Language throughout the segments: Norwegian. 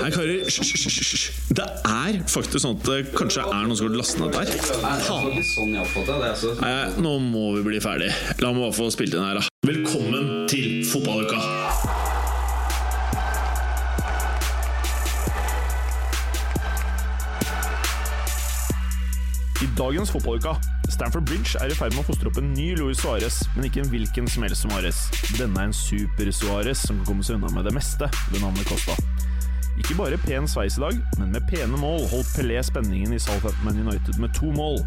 Nei, karer, hysj, hysj, hysj, hysj. Det er faktisk sånn at det kanskje er noen som har lastet ned der. var ikke sånn jeg oppfatta det. Altså. Nei, nå må vi bli ferdig. La meg bare få spilt inn her, da. Velkommen til fotballuka! I dagens fotballuka Stamford Bridge er i ferd med å fostre opp en ny Luis Suárez, men ikke en hvilken som helst Suárez. Denne er en super-Suárez som kan komme seg unna med det meste ved navnet Costa. Ikke bare pen sveis i dag, men med pene mål holdt Pelé spenningen i Southampton United med to mål.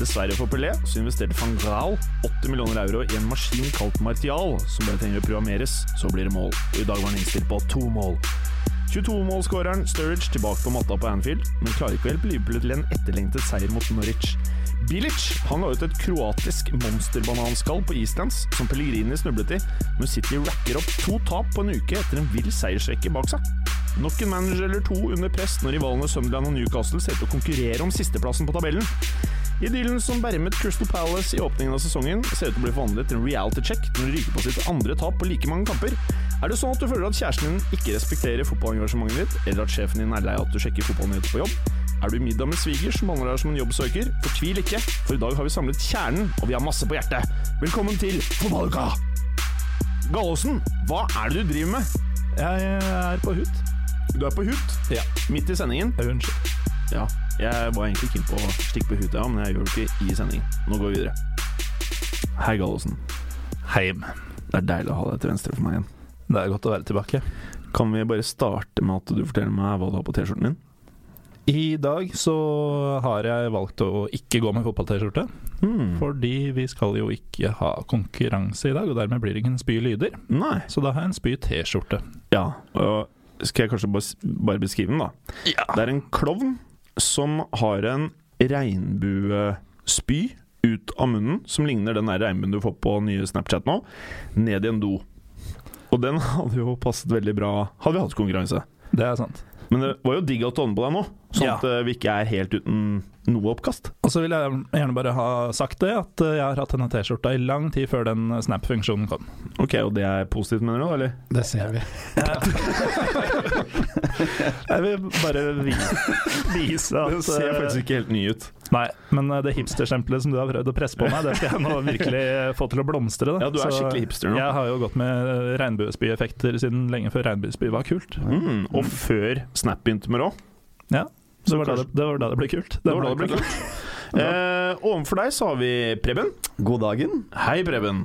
Dessverre for Pelé så investerte van Graal 80 millioner euro i en maskin kalt Martial, som bare trenger å programmeres, så blir det mål. Og i dag var han innstilt på to mål. 22-målskåreren Sturridge tilbake på matta på Anfield, men klarer ikke å hjelpe Liverpool til en etterlengtet seier mot Norwich. Bilic han la ut et kroatisk monsterbananskall på islands, som Pellegrini snublet i, men City racker opp to tap på en uke etter en vill seiersrekke bak seg. Nok en manager eller to under press når rivalene Sunderland og Newcastle ser ut til å konkurrere om sisteplassen på tabellen. Idyllen som bermet Crystal Palace i åpningen av sesongen, ser ut til å bli forvandlet til en reality check når de ryker på sitt andre tap på like mange kamper. Er det sånn at du føler at kjæresten din ikke respekterer fotballengasjementet ditt, eller at sjefen din er lei av at du sjekker fotballnyheter på jobb? Er du i middag med svigers som behandler deg som en jobbsøker? Fortvil ikke, for i dag har vi samlet kjernen, og vi har masse på hjertet. Velkommen til Fotballuka! Gallosen, hva er det du driver med? Jeg er på hut. Du er på hut? Ja. Midt i sendingen? Unnskyld. Ja. Jeg var egentlig keen på å stikke på huet, ja, men jeg gjør det ikke i sendingen. Nå går vi videre. Hei, Gallosen. Heim. Det er deilig å ha deg til venstre for meg igjen. Det er godt å være tilbake. Kan vi bare starte med at du forteller meg hva du har på T-skjorten din? I dag så har jeg valgt å ikke gå med fotball-T-skjorte. Hmm. Fordi vi skal jo ikke ha konkurranse i dag, og dermed blir det ingen spy lyder. Nei. Så da har jeg en spy T-skjorte. Ja. Og skal jeg kanskje bare, s- bare beskrive den, da? Ja. Det er en klovn som har en regnbuespy ut av munnen, som ligner den der regnbuen du får på nye Snapchat nå, ned i en do. Og den hadde jo passet veldig bra Hadde vi hatt konkurranse. Det er sant. Men det var jo digg at du åndet på deg nå, sånn Ja. at eh, vi ikke er helt uten noe oppkast. Og så vil jeg gjerne bare ha sagt det, at eh, jeg har hatt denne T-skjorta i lang tid før den Snap-funksjonen kom. Ok, Og det er positivt, mener du? eller? Det ser vi. Jeg vil bare vise at, Den ser eh, faktisk ikke helt ny ut. Nei, men eh, det hipsterstempelet som du har prøvd å presse på meg, det skal jeg nå virkelig eh, få til å blomstre. Da. Ja, du er Så skikkelig hipster nå. Jeg har jo gått med eh, regnbuespyeffekter siden lenge før regnbuespy var kult. Mm, og før Snap begynte med råd. Ja, så Så var det, kanskje- det var da det ble kult. Det var da det ble kult. Eh, ovenfor deg så har vi Preben. God dagen. Hei, Preben.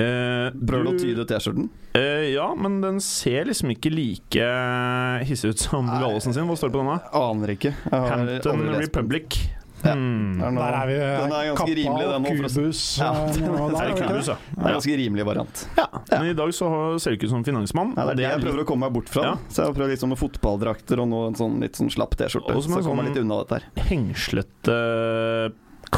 Eh, Prøver du å du- tyde T-skjorten? Eh, ja, men den ser liksom ikke like eh, hissig ut som Gallosen sin. Hva står det på denne? Aner ikke. Jeg har Hampton aldri lest på den. Republic. Ja. Hmm. noe- Der er vi eh, Den er ganske rimelig, den nå. forresten. Kubus Ja, eh, den- nå og da, Er det ikke Kubus, ja? Det er en ganske rimelig variant. Ja. Men i dag så har- ser du ikke ut som finansmann. Nei, det og er det jeg litt- prøver å komme meg bort fra. Ja. Så jeg har prøvd liksom med fotballdrakter og nå en sånn litt sånn slapp T-skjorte. Og som Så en jeg kommer sånn- litt unna dette her. hengslete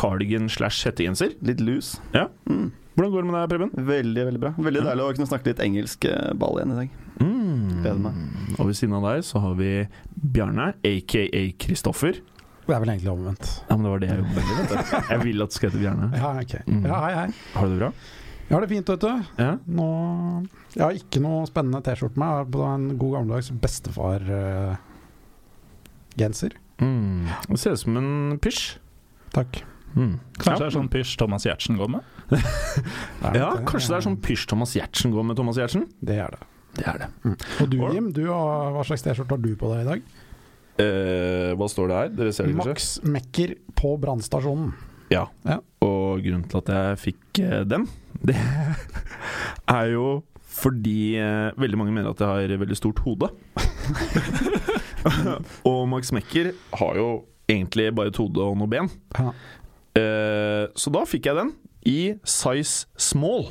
cardigan slash hettegenser. Litt loose. Ja. Mm. Hvordan går det med deg, Preben? Veldig, veldig bra. Veldig deilig å kunne snakke litt engelsk eh, ball igjen i dag. Mm. Gleder meg. Og ved siden av deg så har vi Bjarne, aka Kristoffer. Det er vel egentlig omvendt. Ja, men det var det jeg jobba med. Jeg vil at du skal hete Bjarne. Ja, ok. Mm. Ja, hei, hei. Har du det bra? Jeg har det fint, vet du. Ja. Nå Jeg har ikke noe spennende T-skjorte med. Jeg har på en god gammeldags bestefar-genser. Mm. Det ser ut som en pysj. Takk. Mm. Kanskje det er sånn pysj Thomas Giertsen går med? Det er Ja, nok det. kanskje det er sånn pysj Thomas Giertsen går med Thomas Giertsen. Det er det. Det er det. Og du, Or- Jim, du har, hva slags T-skjorte har du på deg i dag? Eh, hva står det her? Dere ser det kanskje? Max Mekker på brannstasjonen. Ja. Ja. Og grunnen til at jeg fikk eh, den, det er jo fordi eh, veldig mange mener at jeg har veldig stort hode. og Max Mekker har jo egentlig bare et hode og noen ben. Ja. Eh, så da fikk jeg den i size small.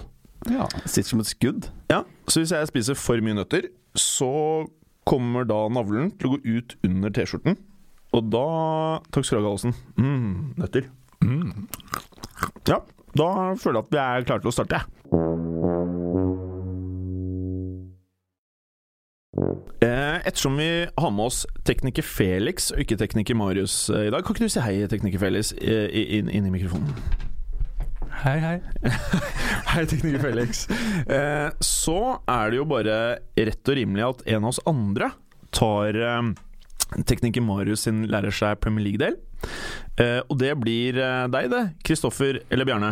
Ja. Sitter som et skudd. Ja, Så hvis jeg spiser for mye nøtter, så kommer da navlen til å gå ut under T-skjorten. Og da Takk skal du ha, Gallosen. Mm, nøtter. Mm. Ja, da føler jeg at vi er klare til å starte. jeg. Eh, Ettersom vi har med oss tekniker Felix og ikke tekniker Marius eh, i dag, kan ikke du si hei, tekniker Felix, eh, i- inn, inn i mikrofonen? Hei, hei. Hei, tekniker Felix. Eh, så er det jo bare rett og rimelig at en av oss andre tar eh, tekniker Marius sin lærer seg Premier League-del. Eh, og det blir eh, deg, det. Kristoffer eller Bjarne.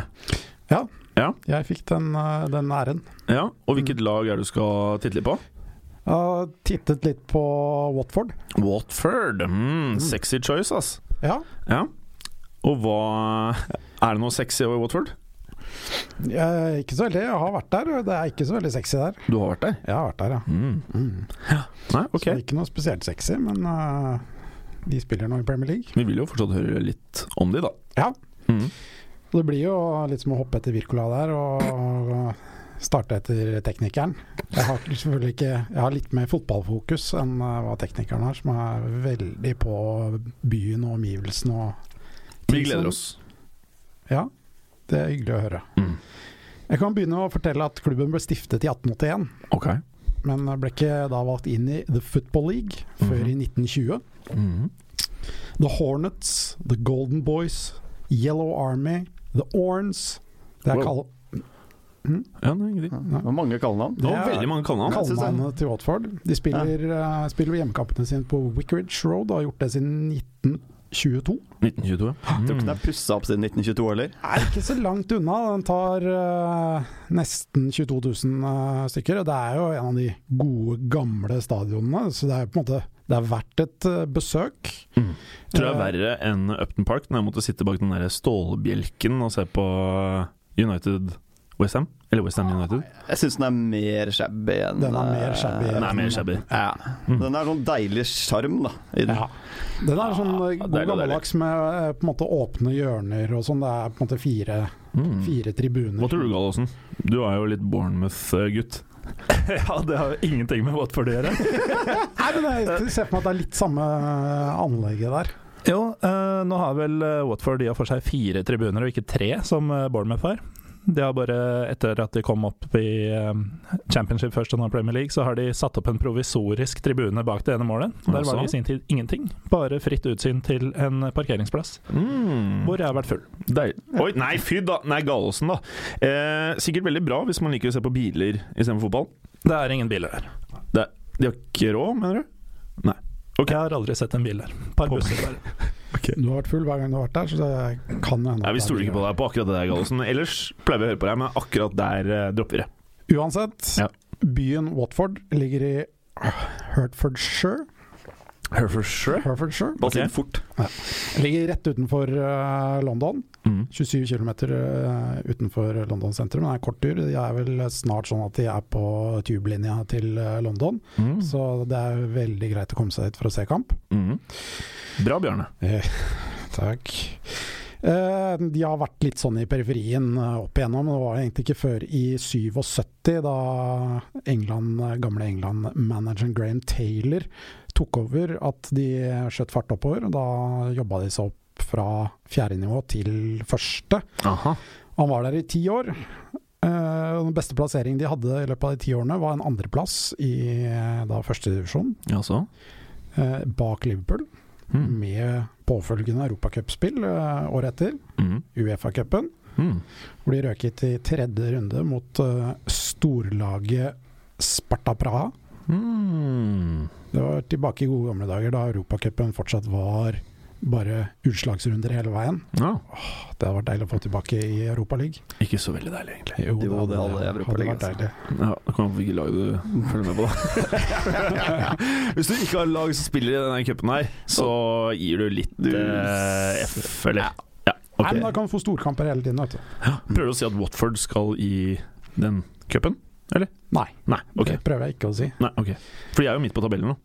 Jeg fikk den, eh, den æren. Ja, Og hvilket lag er det du skal titte litt på? Jeg har tittet litt på Watford. Watford. Mm, sexy choice, ass. Ja. Ja. Og hva Er det noe sexy over Watford? Jeg, ikke så veldig. Jeg har vært der, og det er ikke så veldig sexy der. Du har vært der? Jeg har vært der, ja. Mm. Mm. Nei, Så ok. det er ikke noe spesielt sexy, men eh, de spiller nå i Premier League. Vi vil jo fortsatt høre litt om de, da. Ja. Mm. Og det blir jo litt som å hoppe etter Wirkola der og starte etter teknikeren. Jeg har selvfølgelig ikke Jeg har litt mer fotballfokus enn eh, hva teknikeren har, som er veldig på byen og omgivelsene og Vi gleder oss. Ja, det er hyggelig å høre. Mm. Jeg kan begynne å fortelle at klubben ble stiftet i 1881, Ok. men ble ikke da valgt inn i The Football League før Mhm. i 1920. Mm. The Hornets, The Golden Boys, Yellow Army, The Orns Det er Wow. kall Ja, det er ingenting. Det var mange kallenavn. Det var Ja. veldig mange kallenavn. Ja. synes jeg. Kallenavnet til Watford. De spiller, eh, spiller jo hjemmekampene sine på Wickridge Road og har gjort det siden 1922. 1922. Tror ikke den Mm. er pussa opp siden 1922 heller. Er ikke så langt unna. Den tar eh, nesten 22 000 eh, stykker. og Det er jo en av de gode, gamle stadionene, så det er jo på en måte det er verdt et eh, besøk. Mm. Tror det er Eh, verre enn Upton Park, når jeg måtte sitte bak den der stålbjelken og se på eh, United Westham. Eller Westham United. Jeg syns den er mer shabby enn Den er mer eh, shabby. Den er mer shabby. Ja. Mm. Den er sånn deilig sjarm, da. I den. Ja. Den er sånn eh, Ja, god deilig, gammeldags med eh, på en måte åpne hjørner og sånn. Det er på en måte fire, Mm. fire tribuner. Hva tror du, Gallosen? Du er jo litt Bournemouth-gutt. Ja, det har jo ingenting med Watford å gjøre. Nei, men jeg ser for meg at det er litt samme eh, anlegget der. Jo, eh, nå har vel eh, Watford de har for seg fire tribuner, og ikke tre, som eh, Bournemouth har. De har bare, etter at de kom opp i eh, Championship først og nå Premier League, så har de satt opp en provisorisk tribune bak det ene målet. Der var det i sin tid ingenting, bare fritt utsyn til en parkeringsplass, Mm. hvor jeg har vært full. Deil. Oi, nei, fy da! Nei, Gallosen, da. Eh, sikkert veldig bra hvis man liker å se på biler istedenfor fotball. Det er ingen biler her. De har ikke råd, mener du? Ok. Jeg har aldri sett en bil her. Par busser der. Du har vært full hver gang du har vært der, så det kan jo hende Nei, at Vi det er stoler ikke på deg på akkurat det der, Gallosen. Ellers pleier vi å høre på deg, men akkurat der eh, dropper vi det. Uansett, Ja. byen Watford ligger i øh, Hertfordshire. Herfordshire? Hertfordshire. Bare si Ok. det fort. Ligger rett utenfor eh, London. Mm. 27 km utenfor London sentrum. Det er en kort tur. De er vel snart sånn at de er på tubelinja til eh, London. Mm. Så det er veldig greit å komme seg hit for å se kamp. Mm. Bra, Bjarne. Eh, Takk. Eh, De har vært litt sånn i periferien eh, opp igjennom. Det var egentlig ikke før i 77, da England, eh, gamle England-manageren Graham Taylor tok over, at de skjøt fart oppover. og Da jobba de seg opp fra fjerde nivå til første. Aha. Han var der i ti år. Eh, og Den beste plasseringen de hadde i løpet av de ti årene, var en andreplass i eh, da første divisjon, Ja, så. eh, bak Liverpool Mm. med påfølgende europacupspill eh, året etter, Mm. Uefa-cupen, Mm. hvor de røk hit i tredje runde mot eh, storlaget Sparta Praha. Mm. Det var tilbake i gode gamle dager, da europacupen fortsatt var bare utslagsrunder hele veien. Ja. Det hadde vært deilig å få tilbake i Europaligaen. Ikke så veldig deilig, egentlig. Jo, Jo, det hadde jeg Europa League, altså. vært deilig. Ja, Det kommer an på hvilket lag du følger med på, da. Hvis du ikke har lag som spiller i denne cupen her, så gir du litt Du- eh, F, eller? Ja. Nei, men ok. da kan du få storkamper hele tiden, vet du. Prøver du å si at Watford skal i den cupen? Nei, Nei, ok. det prøver jeg ikke å si. Nei, ok. For de er jo midt på tabellen nå.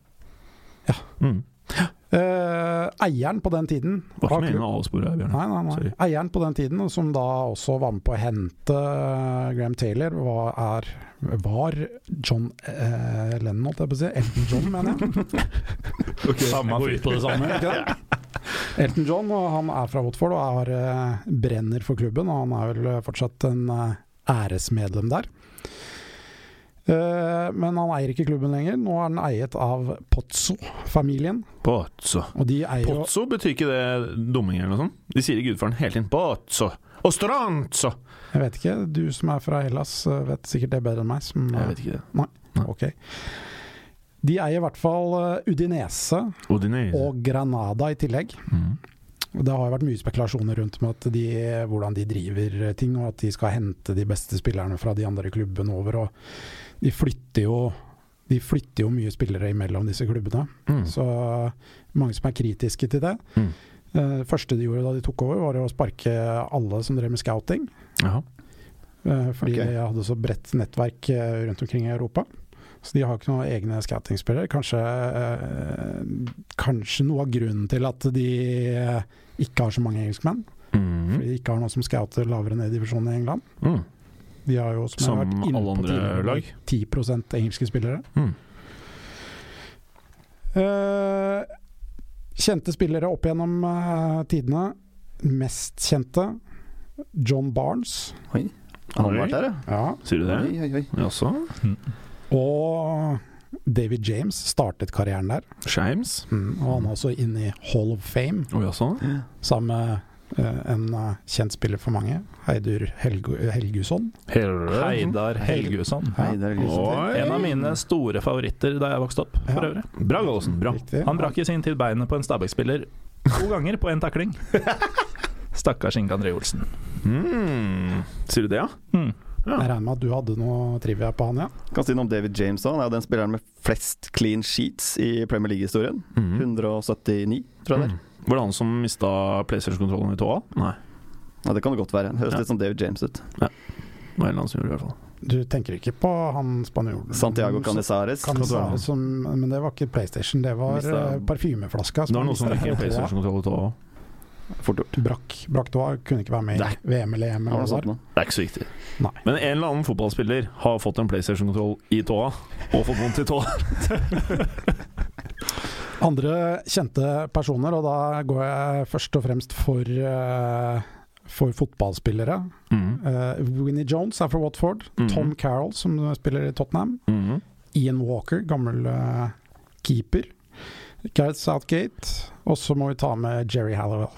Ja. Mm. Eh, eieren på den tiden Var var ikke meningen å avspore deg, Bjørn. Nei, nei, nei. Sorry. Eieren på den tiden, som da også var med på å hente eh, Graham Taylor, var, er, var John eh, Lennon, holdt jeg på å si. Elton John, mener jeg. Samme Går fyr. ut på det samme, ikke det? Elton John og han er fra Watford og er, eh, brenner for klubben. Og han er vel eh, fortsatt en eh, æresmedlem der. Eh, men han eier ikke klubben lenger. Nå er den eiet av Pozzo-familien. Pozzo. Og de eier jo Pozzo betyr ikke det dumming eller noe sånt? De sier i gudfaren hele tiden Pozzo. Og Stranzo! Jeg vet ikke, du eh, som er fra Hellas eh, vet sikkert det bedre enn meg. Som, Jeg vet ikke det. Ok. De eier i hvert fall eh, Udinese Odinese. og Granada i tillegg. Mm. Det har jo vært mye spekulasjoner rundt med at de, hvordan de driver eh, ting, og at de skal hente de beste spillerne fra de andre klubbene over. Og de flytter jo, de flytter jo mye spillere imellom disse klubbene. Mm. Så eh, mange som er kritiske til det. Mm. Eh, første de gjorde da de tok over, var å sparke alle som drev med scouting. Jaha. eh, fordi Ok. de hadde så bredt nettverk eh, rundt omkring i Europa. Så de har ikke noen egne scouting-spillere. Kanskje, eh, kanskje noe av grunnen til at de eh, ikke har så mange engelskmenn. Mm. Fordi de ikke har noen som scouter lavere ned i divisjonen i England. Mm. De har jo, som, jeg har Som vært inne alle på andre tidligere, lag. 10 engelske spillere. Mm. Eh, kjente spillere opp gjennom eh, tidene. Mest kjente John Barnes. Han har Oi. vært der, ja. Sier du det? Oi, oi, oi. Jaså? Og David James startet karrieren der. Shames? Mm, og han er også inne i Hall of Fame Å jaså? sammen med eh, en eh, kjent spiller for mange, Heidur Helgu Helgusson. Heidar Helgusson. Ja. Hei, det er liksom det. En av mine store favoritter da jeg vokste opp, for Ja. øvrig. Bra, Gallosen. Bra. Riktig. Han brakk i sin tid beinet på en Stabæk-spiller to ganger på én takling. Stakkars Inge André Olsen. Mm. Sier du det, ja? Mm. Jeg regner med at du hadde noe trivia på han, ja? Kan si noe om David James òg. Han er jo den spilleren med flest clean sheets i Premier League-historien. Mm. 179, tror jeg det er. Mm. Var det han som mista PlayStation-kontrollen i tåa? Nei, Ja, det kan det godt være. Høres Ja. litt som David James ut. det var en eller annen som gjorde det i hvert fall. Du tenker ikke på han spanjolen? Mm. Santiago Canizares. Kan det være som, men det var ikke PlayStation, det var Mista- eh, parfymeflaska. Det var noen som mista- fikk PlayStation-kontroll i tåa. Fort gjort. Brakk, brakk tåa, kunne ikke være med i Nei. VM eller EM. Har du Eller hva sånt det var. nå? Det er ikke så viktig. Nei. Men en eller annen fotballspiller har fått en PlayStation-kontroll i tåa, og fått vondt i tåa. Andre kjente personer, og da går jeg først og fremst for, eh, for fotballspillere. Mm. Eh, Winnie Jones er fra Watford. Mhm. Tom Carroll, som spiller i Tottenham. Mm. Ian Walker, gammel eh, keeper. Gareth Southgate. Og så må vi ta med Jerry Halliwell.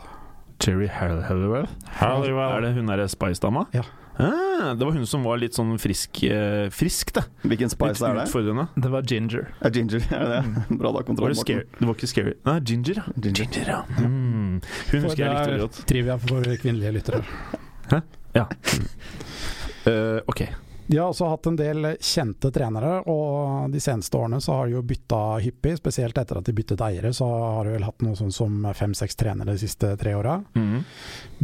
Cherry Halliwell. Er det hun derre Spice-dama? Ja. Ah, det var hun som var litt sånn frisk, eh, frisk det. Hvilken Litt spice er det? utfordrende. Det var Ginger. Hmm. Er ginger, er det det? Bra da, Var kontroll, det, scary? det var ikke scary. Nei, Ginger, ja. Ginger. Ginger, ja. Mm. Hun For husker jeg det likte er- veldig godt. Trivia for våre kvinnelige lyttere. Eh, ok. De har også hatt en del kjente trenere, og de seneste årene så har de jo bytta hyppig. Spesielt etter at de byttet eiere, så har de vel hatt noe sånn som fem-seks trenere de siste tre åra. Mm.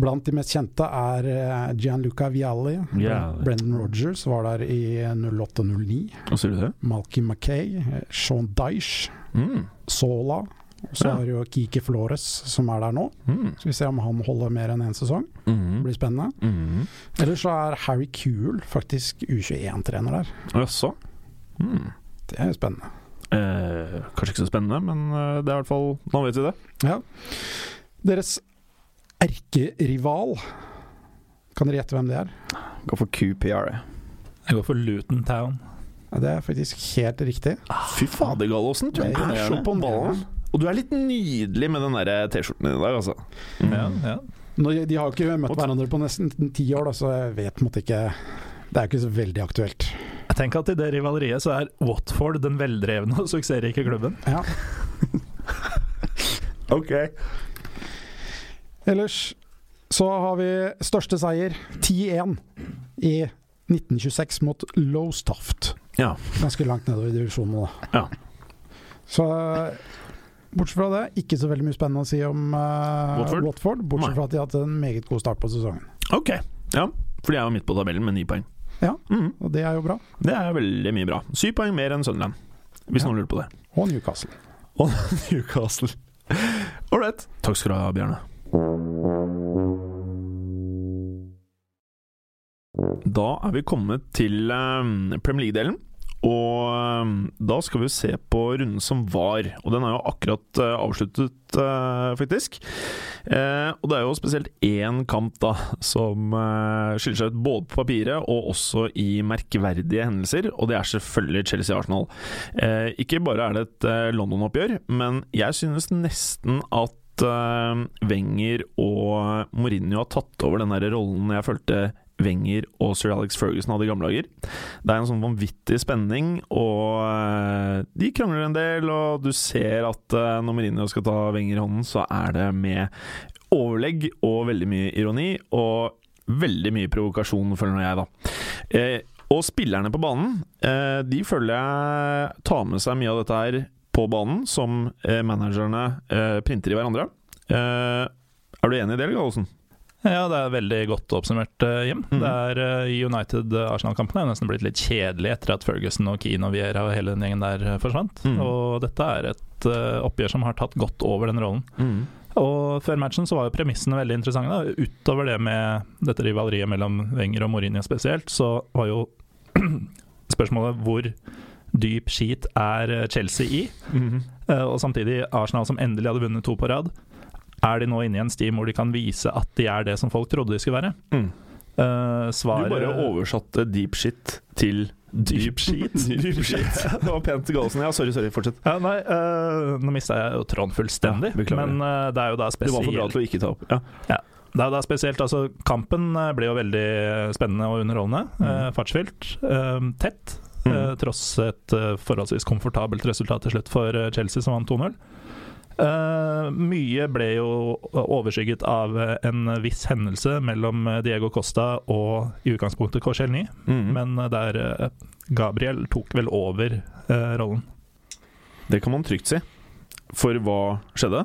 Blant de mest kjente er eh, Gianluca Vialli. Vialli. Brendan Rogers var der i 08-09. Hva sier du det? Malky Mackay, eh, Sean Dyche, Mm. Sola. Og så Ja. har du jo Kiki Flores som er der nå. Mm. Skal vi se om han holder mer enn én sesong. Det Mm. blir spennende. Mm. Ellers så er Harry Kuhl faktisk U21-trener der. Jaså. Mm. Det er jo spennende. Eh, kanskje ikke så spennende, men eh, det er i hvert fall Nå vet vi det. Deres erkerival Kan dere gjette hvem det er? Gå for QPR. jeg. Jeg går for Luton Town. Ja, Det er faktisk helt riktig. Fy fader, Gallosen. Du Det er er så imponerende. på ballen. Og du er litt nydelig med den der eh, T-skjorten din i dag, altså. Ja, ja. Nå, de har jo ikke møtt Og- hverandre på nesten ti år, da, så jeg vet på en måte ikke Det er jo ikke så veldig aktuelt. Jeg tenker at i det rivaleriet så er Watford den veldrevne og suksessrike klubben. Ja. Ok. Ellers så har vi største seier, 10-1, i 1926 mot Lowstoft. Ja. Ganske langt nedover i divisjonen, da. Ja. Så bortsett fra det, ikke så veldig mye spennende å si om eh, Watford? Watford. Nei. Bortsett fra at de har hatt en meget god start på sesongen. Ok. Ja, fordi jeg var midt på tabellen med ni poeng. Ja. Mhm. Og det er jo bra. Det er veldig mye bra. Syv poeng mer enn Sunderland, hvis Ja. noen lurer på det. Og Newcastle. Newcastle. Ålreit. Takk skal du ha, Bjarne. Da er vi kommet til eh, Premier League-delen. Og eh, da skal vi se på runden som var, og den er jo akkurat eh, avsluttet, eh, faktisk. Eh, og det er jo spesielt én kamp da som eh, skiller seg ut både på papiret og også i merkverdige hendelser, og det er selvfølgelig Chelsea-Arsenal. Eh, ikke bare er det et eh, London-oppgjør, men jeg synes nesten at eh, Wenger og Mourinho har tatt over den der rollen jeg følte Wenger og sir Alex Ferguson hadde i gamle dager. Det er en sånn vanvittig spenning, og eh, de krangler en del. Og du ser at eh, når Mourinho skal ta Wenger i hånden, så er det med overlegg og veldig mye ironi. Og veldig mye provokasjon, føler jeg, da. Eh, og spillerne på banen, eh, de føler jeg tar med seg mye av dette her på banen, som eh, managerne eh, printer i hverandre. Eh, er du enig i det, eller, Gallosen? Ja, det er veldig godt oppsummert, eh, Jim. Mhm. Det er eh, United-Arsenal-kampene er nesten blitt litt kjedelige etter at Ferguson og Keane og Vieira og hele den gjengen der eh, forsvant. Mhm. Og dette er et eh, oppgjør som har tatt godt over den rollen. Mm. Og før matchen så var jo premissene veldig interessante. Da. Utover det med dette rivaleriet mellom Wenger og Mourinho spesielt, så var jo spørsmålet hvor dyp skit er eh, Chelsea i? Mm-hmm. Eh, Og samtidig Arsenal som endelig hadde vunnet to på rad. Er de nå inne i en stim hvor de kan vise at de er det som folk trodde de skulle være? Mm. Eh, Du svaret bare oversatte deep shit til Dyp skit. Dyp shit. det var pent, Gallosen. Ja, sorry, sorry. Fortsett. ja, Nei, eh, nå mista jeg jo Trond fullstendig. Ja, beklager. men eh, det er jo da Du var for bra spesielt til å ikke ta opp. Ja. Det er jo da spesielt, altså Kampen eh, ble jo veldig spennende og underholdende. eh, fartsfylt. eh, tett. Mm. eh, tross et eh, forholdsvis komfortabelt resultat til slutt for eh, Chelsea, som vant 2-0. Eh, mye ble jo overskygget av eh, en viss hendelse mellom eh, Diego Costa og i utgangspunktet Korselny, Mm. men eh, der eh, Gabriel tok vel over eh, rollen. Det kan man trygt si. For hva skjedde?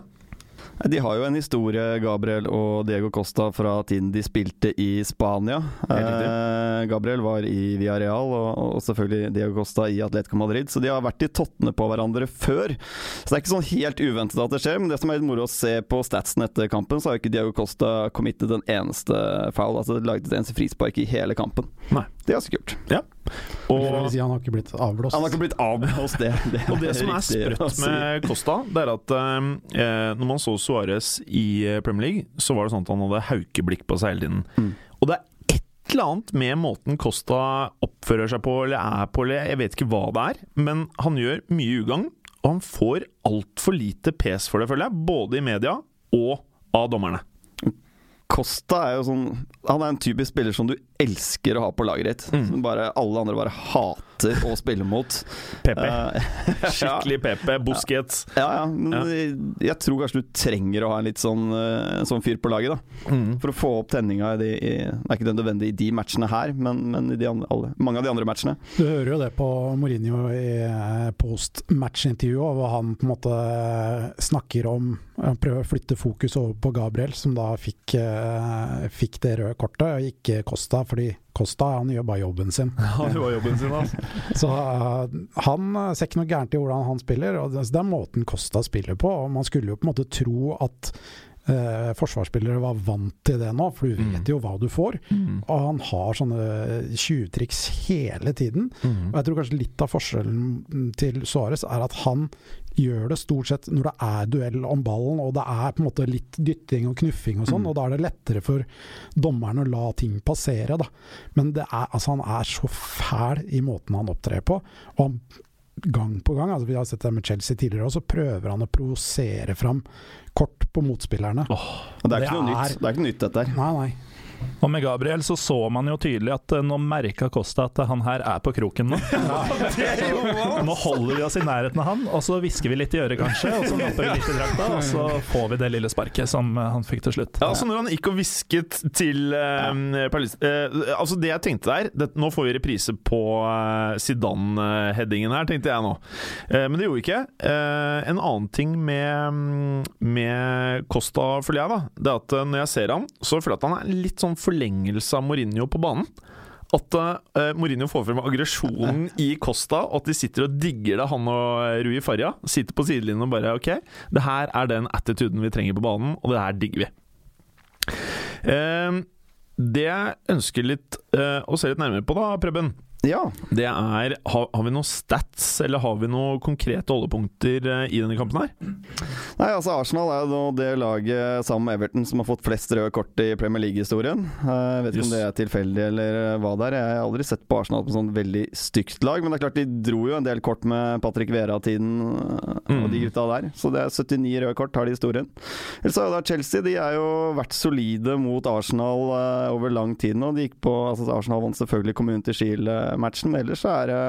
Nei, De har jo en historie, Gabriel og Diego Costa, fra tiden de spilte i Spania. Helt riktig. Eh, Gabriel var i Villarreal, og, og selvfølgelig Diego Costa i Atletico Madrid. Så de har vært i tottene på hverandre før. Så det er ikke sånn helt uventet at det skjer, men det som er litt moro å se på statsen etter kampen, så har jo ikke Diego Costa committet en eneste foul. Altså laget et eneste frispark i hele kampen. Nei. Det er ganske kult. Det vil Og, si han har ikke blitt avblåst. Han har ikke blitt avblåst, det. det og det som er riktig altså. å sprøtt si. med Costa, det er at eh, når man så Suárez i eh, Premier League, så var det sånn at han hadde haukeblikk på seg hele tiden. Mm. Og det er et eller annet med måten Costa oppfører seg på eller er på, eller jeg vet ikke hva det er, men han gjør mye ugagn, og han får altfor lite pes for det, føler jeg, både i media og av dommerne. Costa er jo sånn Han er en typisk spiller som du elsker å ha på laget ditt. Mm. Som bare alle andre bare hater å spille mot. Pepe. Eh, Skikkelig Pepe. Busquets. ja, ja, men Ja. jeg- Jeg tror kanskje du trenger å ha en litt sånn, eh, en sånn fyr på laget, da. Mm. For å få opp tenninga i de i, Det er ikke nødvendig i de matchene her, men, men i de andre, alle, mange av de andre matchene. Du hører jo det på Mourinho i eh, post-match-intervjuet, hvor han på en måte snakker om Han prøver å flytte fokus over på Gabriel, som da fikk, eh, fikk det røde kortet, og ikke Costa, fordi Costa han gjør bare jobben sin. Han gjorde jobben sin, altså. Så eh, han eh, ser ikke noe gærent i hvordan han spiller, og det, så det er måten Costa spiller på. og Man skulle jo på en måte tro at eh, forsvarsspillere var vant til det nå, for du Mm. vet jo hva du får. Og han har sånne tjuvtriks hele tiden. Mm. Og jeg tror kanskje litt av forskjellen til Suárez er at han gjør det stort sett når det er duell om ballen, og det er på en måte litt dytting og knuffing og sånn, Mm. og da er det lettere for dommeren å la ting passere, da. Men det er, altså, han er så fæl i måten han opptrer på. og han Gang på gang, altså vi har sett det med Chelsea tidligere også, prøver han å provosere fram kort på motspillerne. Og det er Det ikke noe er- nytt, det er ikke noe nytt dette her. Nei, nei. Og med Gabriel så så man jo tydelig at eh, nå merka Costa at eh, han her er på kroken nå. Nå holder vi oss i nærheten av han, og så hvisker vi litt i øret kanskje, og så napper vi litt i drakta, og så får vi det lille sparket som eh, han fikk til slutt. Ja, altså Når han gikk og hvisket til eh, Palis- eh, Altså, det jeg tenkte der det, Nå får vi reprise på eh, Zidane-headingen her, tenkte jeg nå. Eh, men det gjorde vi ikke. Eh, en annen ting med, mm, med Costa, føler jeg, da, det er at eh, når jeg ser han, så føler jeg at han er litt sånn forlengelse av Mourinho på banen. At eh, Mourinho får frem aggresjonen i Costa, og at de sitter og digger det, han og eh, Rui Farja. Sitter på sidelinjen og bare OK, det her er den attituden vi trenger på banen, og det her digger vi. Ehm, Eh, det jeg ønsker litt eh, å se litt nærmere på, da, Preben, Ja. Det er har, har vi noen stats, eller har vi noen konkrete holdepunkter eh, i denne kampen her? Nei, altså Arsenal er jo nå det laget sammen med Everton som har fått flest røde kort i Premier League-historien. Eh, Jeg vet ikke Yes. om det er tilfeldig eller eh, hva det er. Jeg har aldri sett på Arsenal på sånn veldig stygt lag, men det er klart de dro jo en del kort med Patrick Vera-tiden eh, og de Mm. gutta der. Så det er 79 røde kort har de i historien. Ellers har jo da Chelsea de er jo vært solide mot Arsenal eh, over lang tid nå. De gikk på, altså Arsenal vant selvfølgelig Community Shield-matchen, men ellers så er det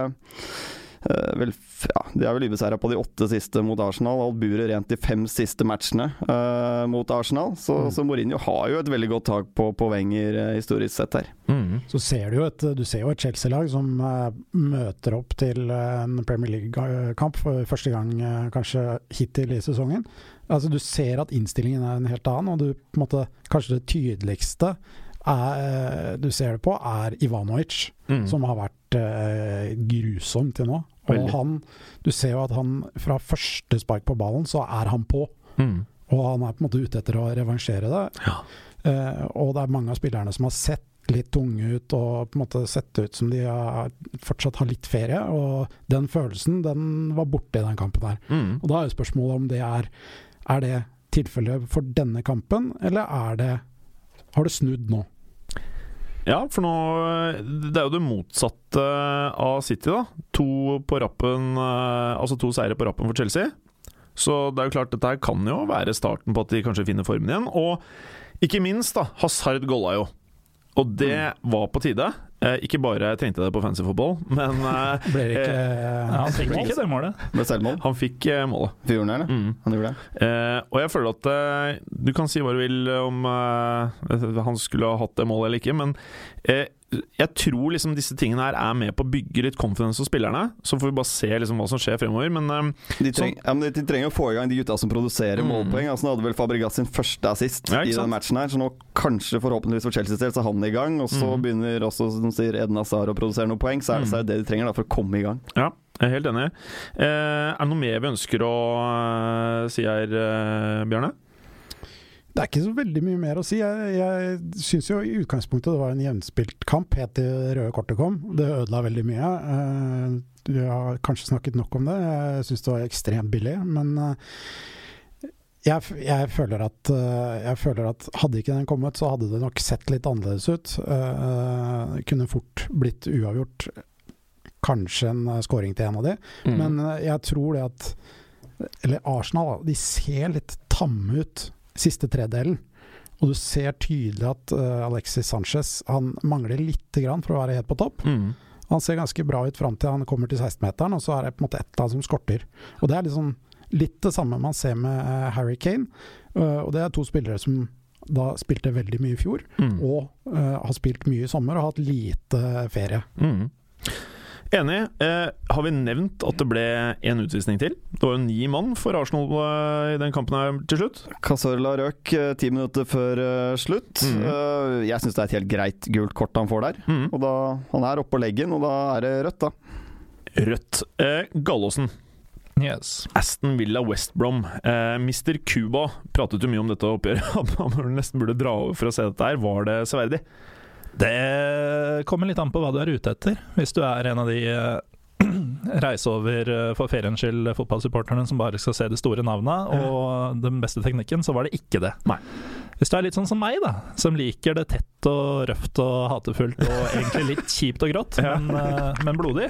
Eh, vel, f- ja, de er vel ubeseira på de åtte siste mot Arsenal. Alburet rent de fem siste matchene eh, mot Arsenal. Så, Mm. så Mourinho har jo et veldig godt tak på, på Wenger eh, historisk sett her. Så ser du jo et, du ser jo et Chelsea-lag som eh, møter opp til eh, en Premier League-kamp for første gang eh, kanskje hittil i sesongen. Altså Du ser at innstillingen er en helt annen, og du, på en måte, kanskje det tydeligste er, eh, du ser det på, er Ivanovic, Mm. som har vært eh, grusom til nå. Og Veldig. han, du ser jo at han fra første spark på ballen, så er han på. Mm. Og han er på en måte ute etter å revansjere det. Ja. Eh, og det er mange av spillerne som har sett litt tunge ut og på en måte sett ut som de har, fortsatt har litt ferie. Og den følelsen den var borte i den kampen her. Mm. Og da er jo spørsmålet om det er Er det tilfellet for denne kampen, eller er det har det snudd nå? Ja, for nå Det er jo det motsatte av City, da. To på rappen eh, Altså to seire på rappen for Chelsea. Så det er jo klart, dette her kan jo være starten på at de kanskje finner formen igjen. Og ikke minst, da. Hazard golla jo. Og det var på tide. Eh, ikke bare trengte jeg det på fancy fotball, men eh, Ble det ikke Ja, han trenger ikke det målet. Med selvmål. han fikk eh, målet. Fjorden her, det. Mm. Han gjorde det. Eh, og jeg føler at eh, Du kan si hva du vil om eh, han skulle ha hatt det målet eller ikke, men eh, jeg tror liksom disse tingene her er med på å bygge litt confidence hos spillerne. Så får vi bare se liksom hva som skjer fremover. Men eh, De, treng, ja, men de trenger å få i gang de gutta som produserer Mm. målpoeng. Altså, nå hadde vel Fabregas sin første assist Ja, ikke i sant? den matchen her, så nå kanskje, forhåpentligvis for Chelseas del, så er han i gang. Og så Mm. begynner også, som sier, Edna Sar å produsere noen poeng. Så er det, Mm. så er det det de trenger da, for å komme i gang. ja, jeg er helt enig. Eh, er det noe mer vi ønsker å eh, si her, eh, Bjørne? Det er ikke så veldig mye mer å si. Jeg, jeg syns jo i utgangspunktet det var en jevnspilt kamp helt til det røde kortet kom. Det ødela veldig mye. Eh, Vi har kanskje snakket nok om det. Jeg syns det var ekstremt billig, men eh, jeg, f- jeg, føler at, eh, jeg føler at hadde ikke den kommet, så hadde det nok sett litt annerledes ut. Eh, Det kunne fort blitt uavgjort. Kanskje en eh, scoring til en av de. Mm. Men eh, jeg tror det at Eller Arsenal, da, de ser litt tamme ut siste tredelen. Og du ser tydelig at eh, Alexis Sanchez han mangler lite grann for å være helt på topp. Mm. Han ser ganske bra ut fram til han kommer til 16-meteren, og så er det på en måte ett av dem som skorter. Og Det er liksom litt det samme man ser med eh, Harry Kane. Eh, og Det er to spillere som da spilte veldig mye i fjor, Mm. og eh, har spilt mye i sommer og har hatt lite ferie. Mm. Enig. Eh, har vi nevnt at det ble én utvisning til? Det var jo ni mann for Arsenal eh, i den kampen her til slutt. Casorla røk eh, ti minutter før eh, slutt. Mhm. Eh, jeg syns det er et helt greit gult kort han får der. Mm. Og da, Han er oppå leggen, og da er det rødt, da. Rødt. Eh, Gallåsen. Yes. Aston Villa West Brom. Eh, Mr. Cuba pratet jo mye om dette oppgjøret. at Man nesten burde dra over for å se dette her. Var det severdig? Det kommer litt an på hva du er ute etter. Hvis du er en av de eh, reise over eh, for feriens skyld fotballsupporterne som bare skal se de store navna og den beste teknikken, så var det ikke det. Nei. Hvis du er litt sånn som meg, da, som liker det tett og røft og hatefullt og egentlig litt kjipt og grått, Ja. men, eh, men blodig,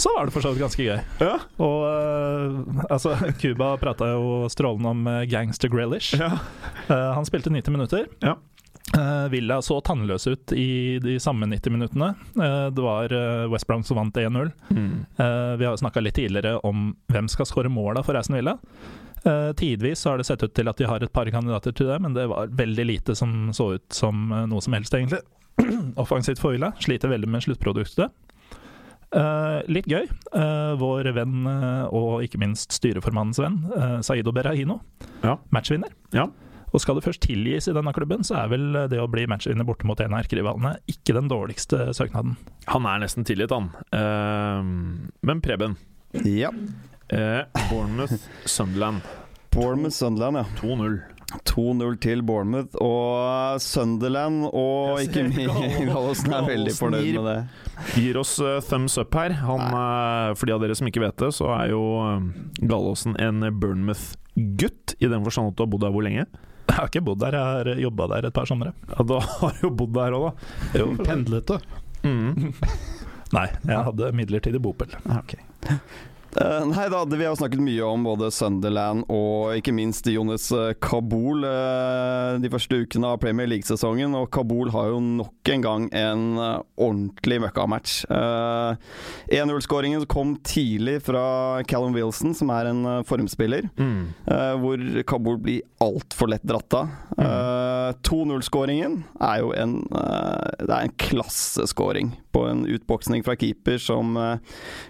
så var det for så vidt ganske gøy. Ja. Og eh, altså, Cuba prata jo strålende om eh, Gangster Grealish. Ja. Eh, han spilte 90 minutter. Ja. Eh, Villa så tannløs ut i de samme 90 minuttene. Eh, det var eh, West Brown som vant 1-0. Mm. Eh, vi har jo snakka litt tidligere om hvem skal skåre måla for Aston Villa. Eh, tidvis så har det sett ut til at de har et par kandidater til det, men det var veldig lite som så ut som eh, noe som helst, egentlig. Offensivt for Villa. Sliter veldig med sluttproduktet. Eh, litt gøy. Eh, vår venn eh, og ikke minst styreformannens venn, eh, Saido Berahino, Ja. matchvinner. Ja. Og skal det først tilgis i denne klubben, så er vel det å bli matchvinner borte mot en av erkerivalene ikke den dårligste søknaden. Han er nesten tilgitt, han. Eh, men Preben. Ja. Eh, Bournemouth Sunderland Bournemouth Sunderland, ja. 2-0. 2-0 til Bournemouth, og Sunderland og Jeg ikke ser minst Gallosen- Gallosen er veldig Gallosen fornøyd gir- med det. Gir oss eh, thumbs up her. Han, eh, for de av dere som ikke vet det, så er jo eh, Gallåsen en Bournemouth-gutt. I den forstand at du har bodd der hvor lenge? Jeg har ikke bodd der, jeg har jobba der et par somre. Ja, da har du jo bodd der òg, da. Pendlete. Mm. Nei, jeg hadde midlertidig bopel. Eh, nei da, det- vi har jo snakket mye om både Sunderland og ikke minst Jonis eh, Kabul eh, de første ukene av Premier League-sesongen, og Kabul har jo nok en gang en eh, ordentlig møkkamatch. Uh, 1-0-skåringen kom tidlig fra Callum Wilson, som er en eh, formspiller. Mm. Eh, hvor Kabul blir altfor lett dratt av. Eh, 2-0-skåringen er jo en eh, Det er en klasseskåring på en utboksning fra keeper som eh,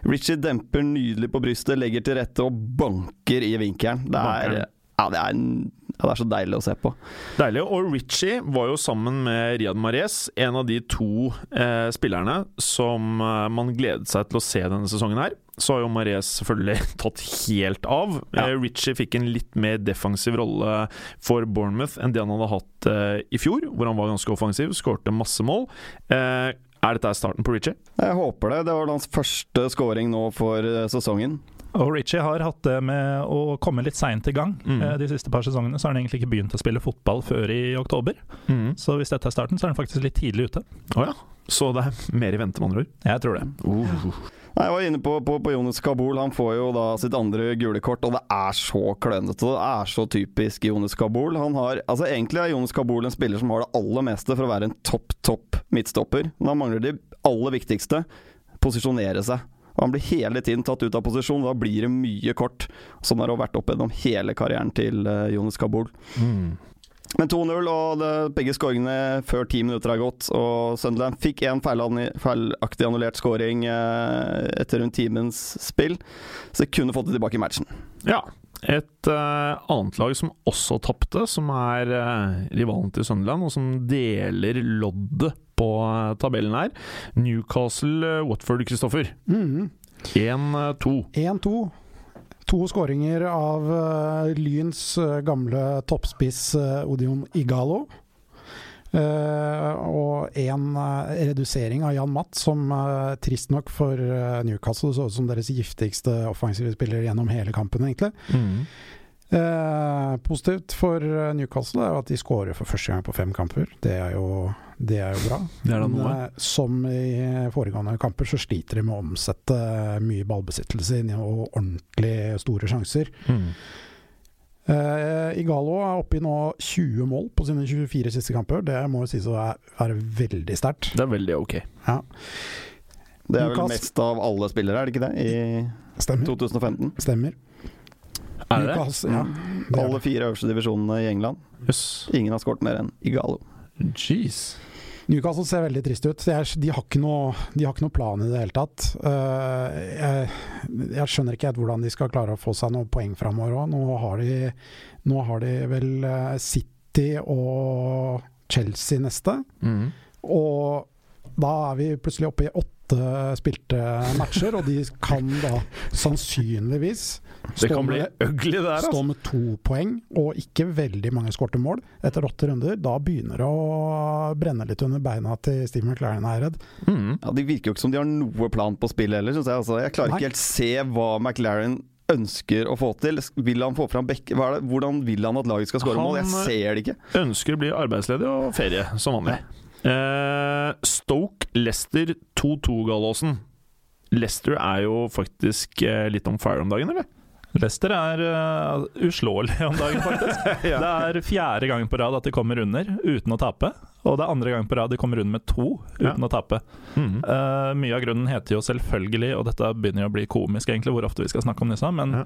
Richie demper nydelig på brystet, legger til rette og banker i vinkelen. Det er, Banker. ja, det er, en- ja, det er så deilig å se på. Deilig. Og Richie var jo sammen med Riyad Mahrez en av de to eh, spillerne som eh, man gledet seg til å se denne sesongen her. Så har jo Mahrez selvfølgelig tatt helt av. Ja. Eh, Richie fikk en litt mer defensiv rolle for Bournemouth enn det han hadde hatt eh, i fjor, hvor han var ganske offensiv, skårte masse mål. Eh, er dette starten på Richie? Jeg håper det. Det var hans første scoring nå for eh, sesongen. Og Richie har hatt det med å komme litt seint i gang. Mm. Eh, De siste par sesongene så har han egentlig ikke begynt å spille fotball før i oktober. Så hvis dette er starten, så er han faktisk litt tidlig ute. Så det er mer i vente, med andre ord. Jeg tror det. Nei, Jeg var inne på, på, på Jonis Kabul. Han får jo da sitt andre gule kort, og det er så klønete. Det er så typisk Jonis Kabul. Han har, altså Egentlig er Jonis Kabul en spiller som har det aller meste for å være en topp, topp midtstopper. Men han mangler det aller viktigste posisjonere seg. Og han blir hele tiden tatt ut av posisjon, da blir det mye kort. Sånn har det vært opp gjennom hele karrieren til eh, Jonis Kabul. Mm. Men 2-0, og det, begge skåringene før ti minutter er gått. Og Sunderland fikk én feilanni- feilaktig annullert skåring eh, etter rundt timens spill, så de kunne fått det tilbake i matchen. Ja. Et eh, annet lag som også tapte, som er eh, rivalen til Sunderland, og som deler loddet på eh, tabellen her. eh, Newcastle-Watford, Kristoffer. Mhm. 1-2. 1-2. To skåringer av eh, Lyns eh, gamle toppspiss eh, Odion Igalo. Eh, og en eh, redusering av Jan Matt, som eh, trist nok for eh, Newcastle så ut som deres giftigste offensive spiller gjennom hele kampen, egentlig. Mm. Eh, positivt for eh, Newcastle er jo at de skårer for første gang på fem kamper. Det er jo, det er jo bra. Det er da Men, noe. eh, som i eh, foregående kamper så sliter de med å omsette eh, mye ballbesittelse inn i og ordentlig store sjanser. Mm. Eh, Igalo er oppe i nå 20 mål på sine 24 siste kamper. Det må jo sies å være- være veldig sterkt. Det er veldig ok. Det er vel Newcastle- mest av alle spillere, er det ikke det? I Stemmer. 2015. Stemmer. Er det det? Newcastle- ja, det er Mm. Alle det. fire øverste divisjonene i England. Jøss. Ingen har skåret mer enn Igalo. Jeez. Newcastle ser veldig trist ut. De, er, de, har ikke noe, de har ikke noe plan i det hele tatt. Eh, jeg, jeg skjønner ikke helt hvordan de skal klare å få seg noen poeng framover òg. Nå, har de- nå har de vel eh, City og Chelsea neste. Mm. Og da er vi plutselig oppe i åtte spilte matcher, og de kan da sannsynligvis Det stå kan bli med- ugly, det her. Stå Altså. med to poeng og ikke veldig mange skårte mål etter åtte runder. Da begynner det å brenne litt under beina til Steve McLaren, er jeg redd. Mm. Ja, Det virker jo ikke som de har noe plan på spillet heller, syns jeg. Altså, jeg klarer Nei. ikke helt se hva McLaren ønsker å få til. Vil han få fram Beck... Hva er det? Hvordan vil han at laget skal skåre Han- mål? Jeg ser det ikke. Ønsker å bli arbeidsledig og ferie, som vanlig. Eh, Stoke Leicester 2-2-Gallåsen. Leicester er jo faktisk eh, litt on fire om dagen, eller? Leicester er eh, uslåelig om dagen, faktisk. Det er fjerde gang på rad at de kommer under uten å tape. Og det er andre gang på rad de kommer under med to Ja. uten å tape. Mhm. Eh, mye av grunnen heter jo selvfølgelig, og dette begynner jo å bli komisk egentlig, hvor ofte vi skal snakke om disse, men Ja.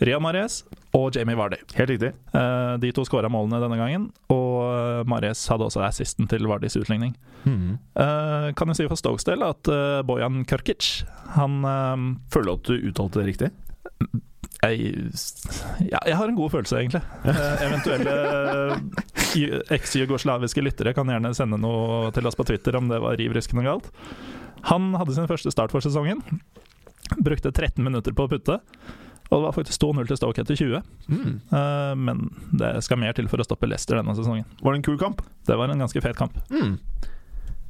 Ria Mares og Jamie Vardy. Helt riktig. Eh, de to skåra målene denne gangen, og Mares hadde også assisten til Vardys utligning. Eh, kan jeg si for Stokes del at eh, Bojan Kørkic Han eh, Føler du at du uttalte det riktig? jeg, ja, jeg har en god følelse, egentlig. Eh, eventuelle eh, ju- eks-jugoslaviske lyttere kan gjerne sende noe til oss på Twitter om det var riv ruskende galt. Han hadde sin første start for sesongen. Brukte 13 minutter på å putte. Og det var faktisk 2-0 til Stoke etter 20, Mm. eh, men det skal mer til for å stoppe Leicester denne sesongen. Var det en kul kamp? Det var en ganske fet kamp. Mm.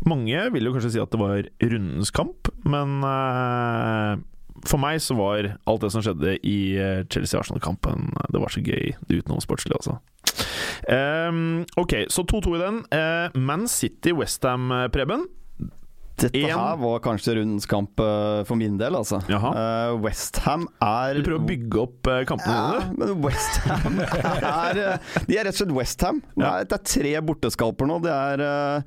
Mange vil jo kanskje si at det var rundens kamp, men eh, for meg så var alt det som skjedde i eh, Chelsea-Arsenal-kampen eh, Det var så gøy, det utenom sportslig, altså. Ehm, ok, så 2-2 i den. Eh, Man City-Westham, Preben. Dette En- her var kanskje rundens kamp eh, for min del, altså. Jaha. Eh, West Westham er Eh, Du prøver å bygge opp eh, kampene ja, dine. men Westham er eh, De er rett og slett Westham. Ja. Det er tre borteskalper nå. Det er eh,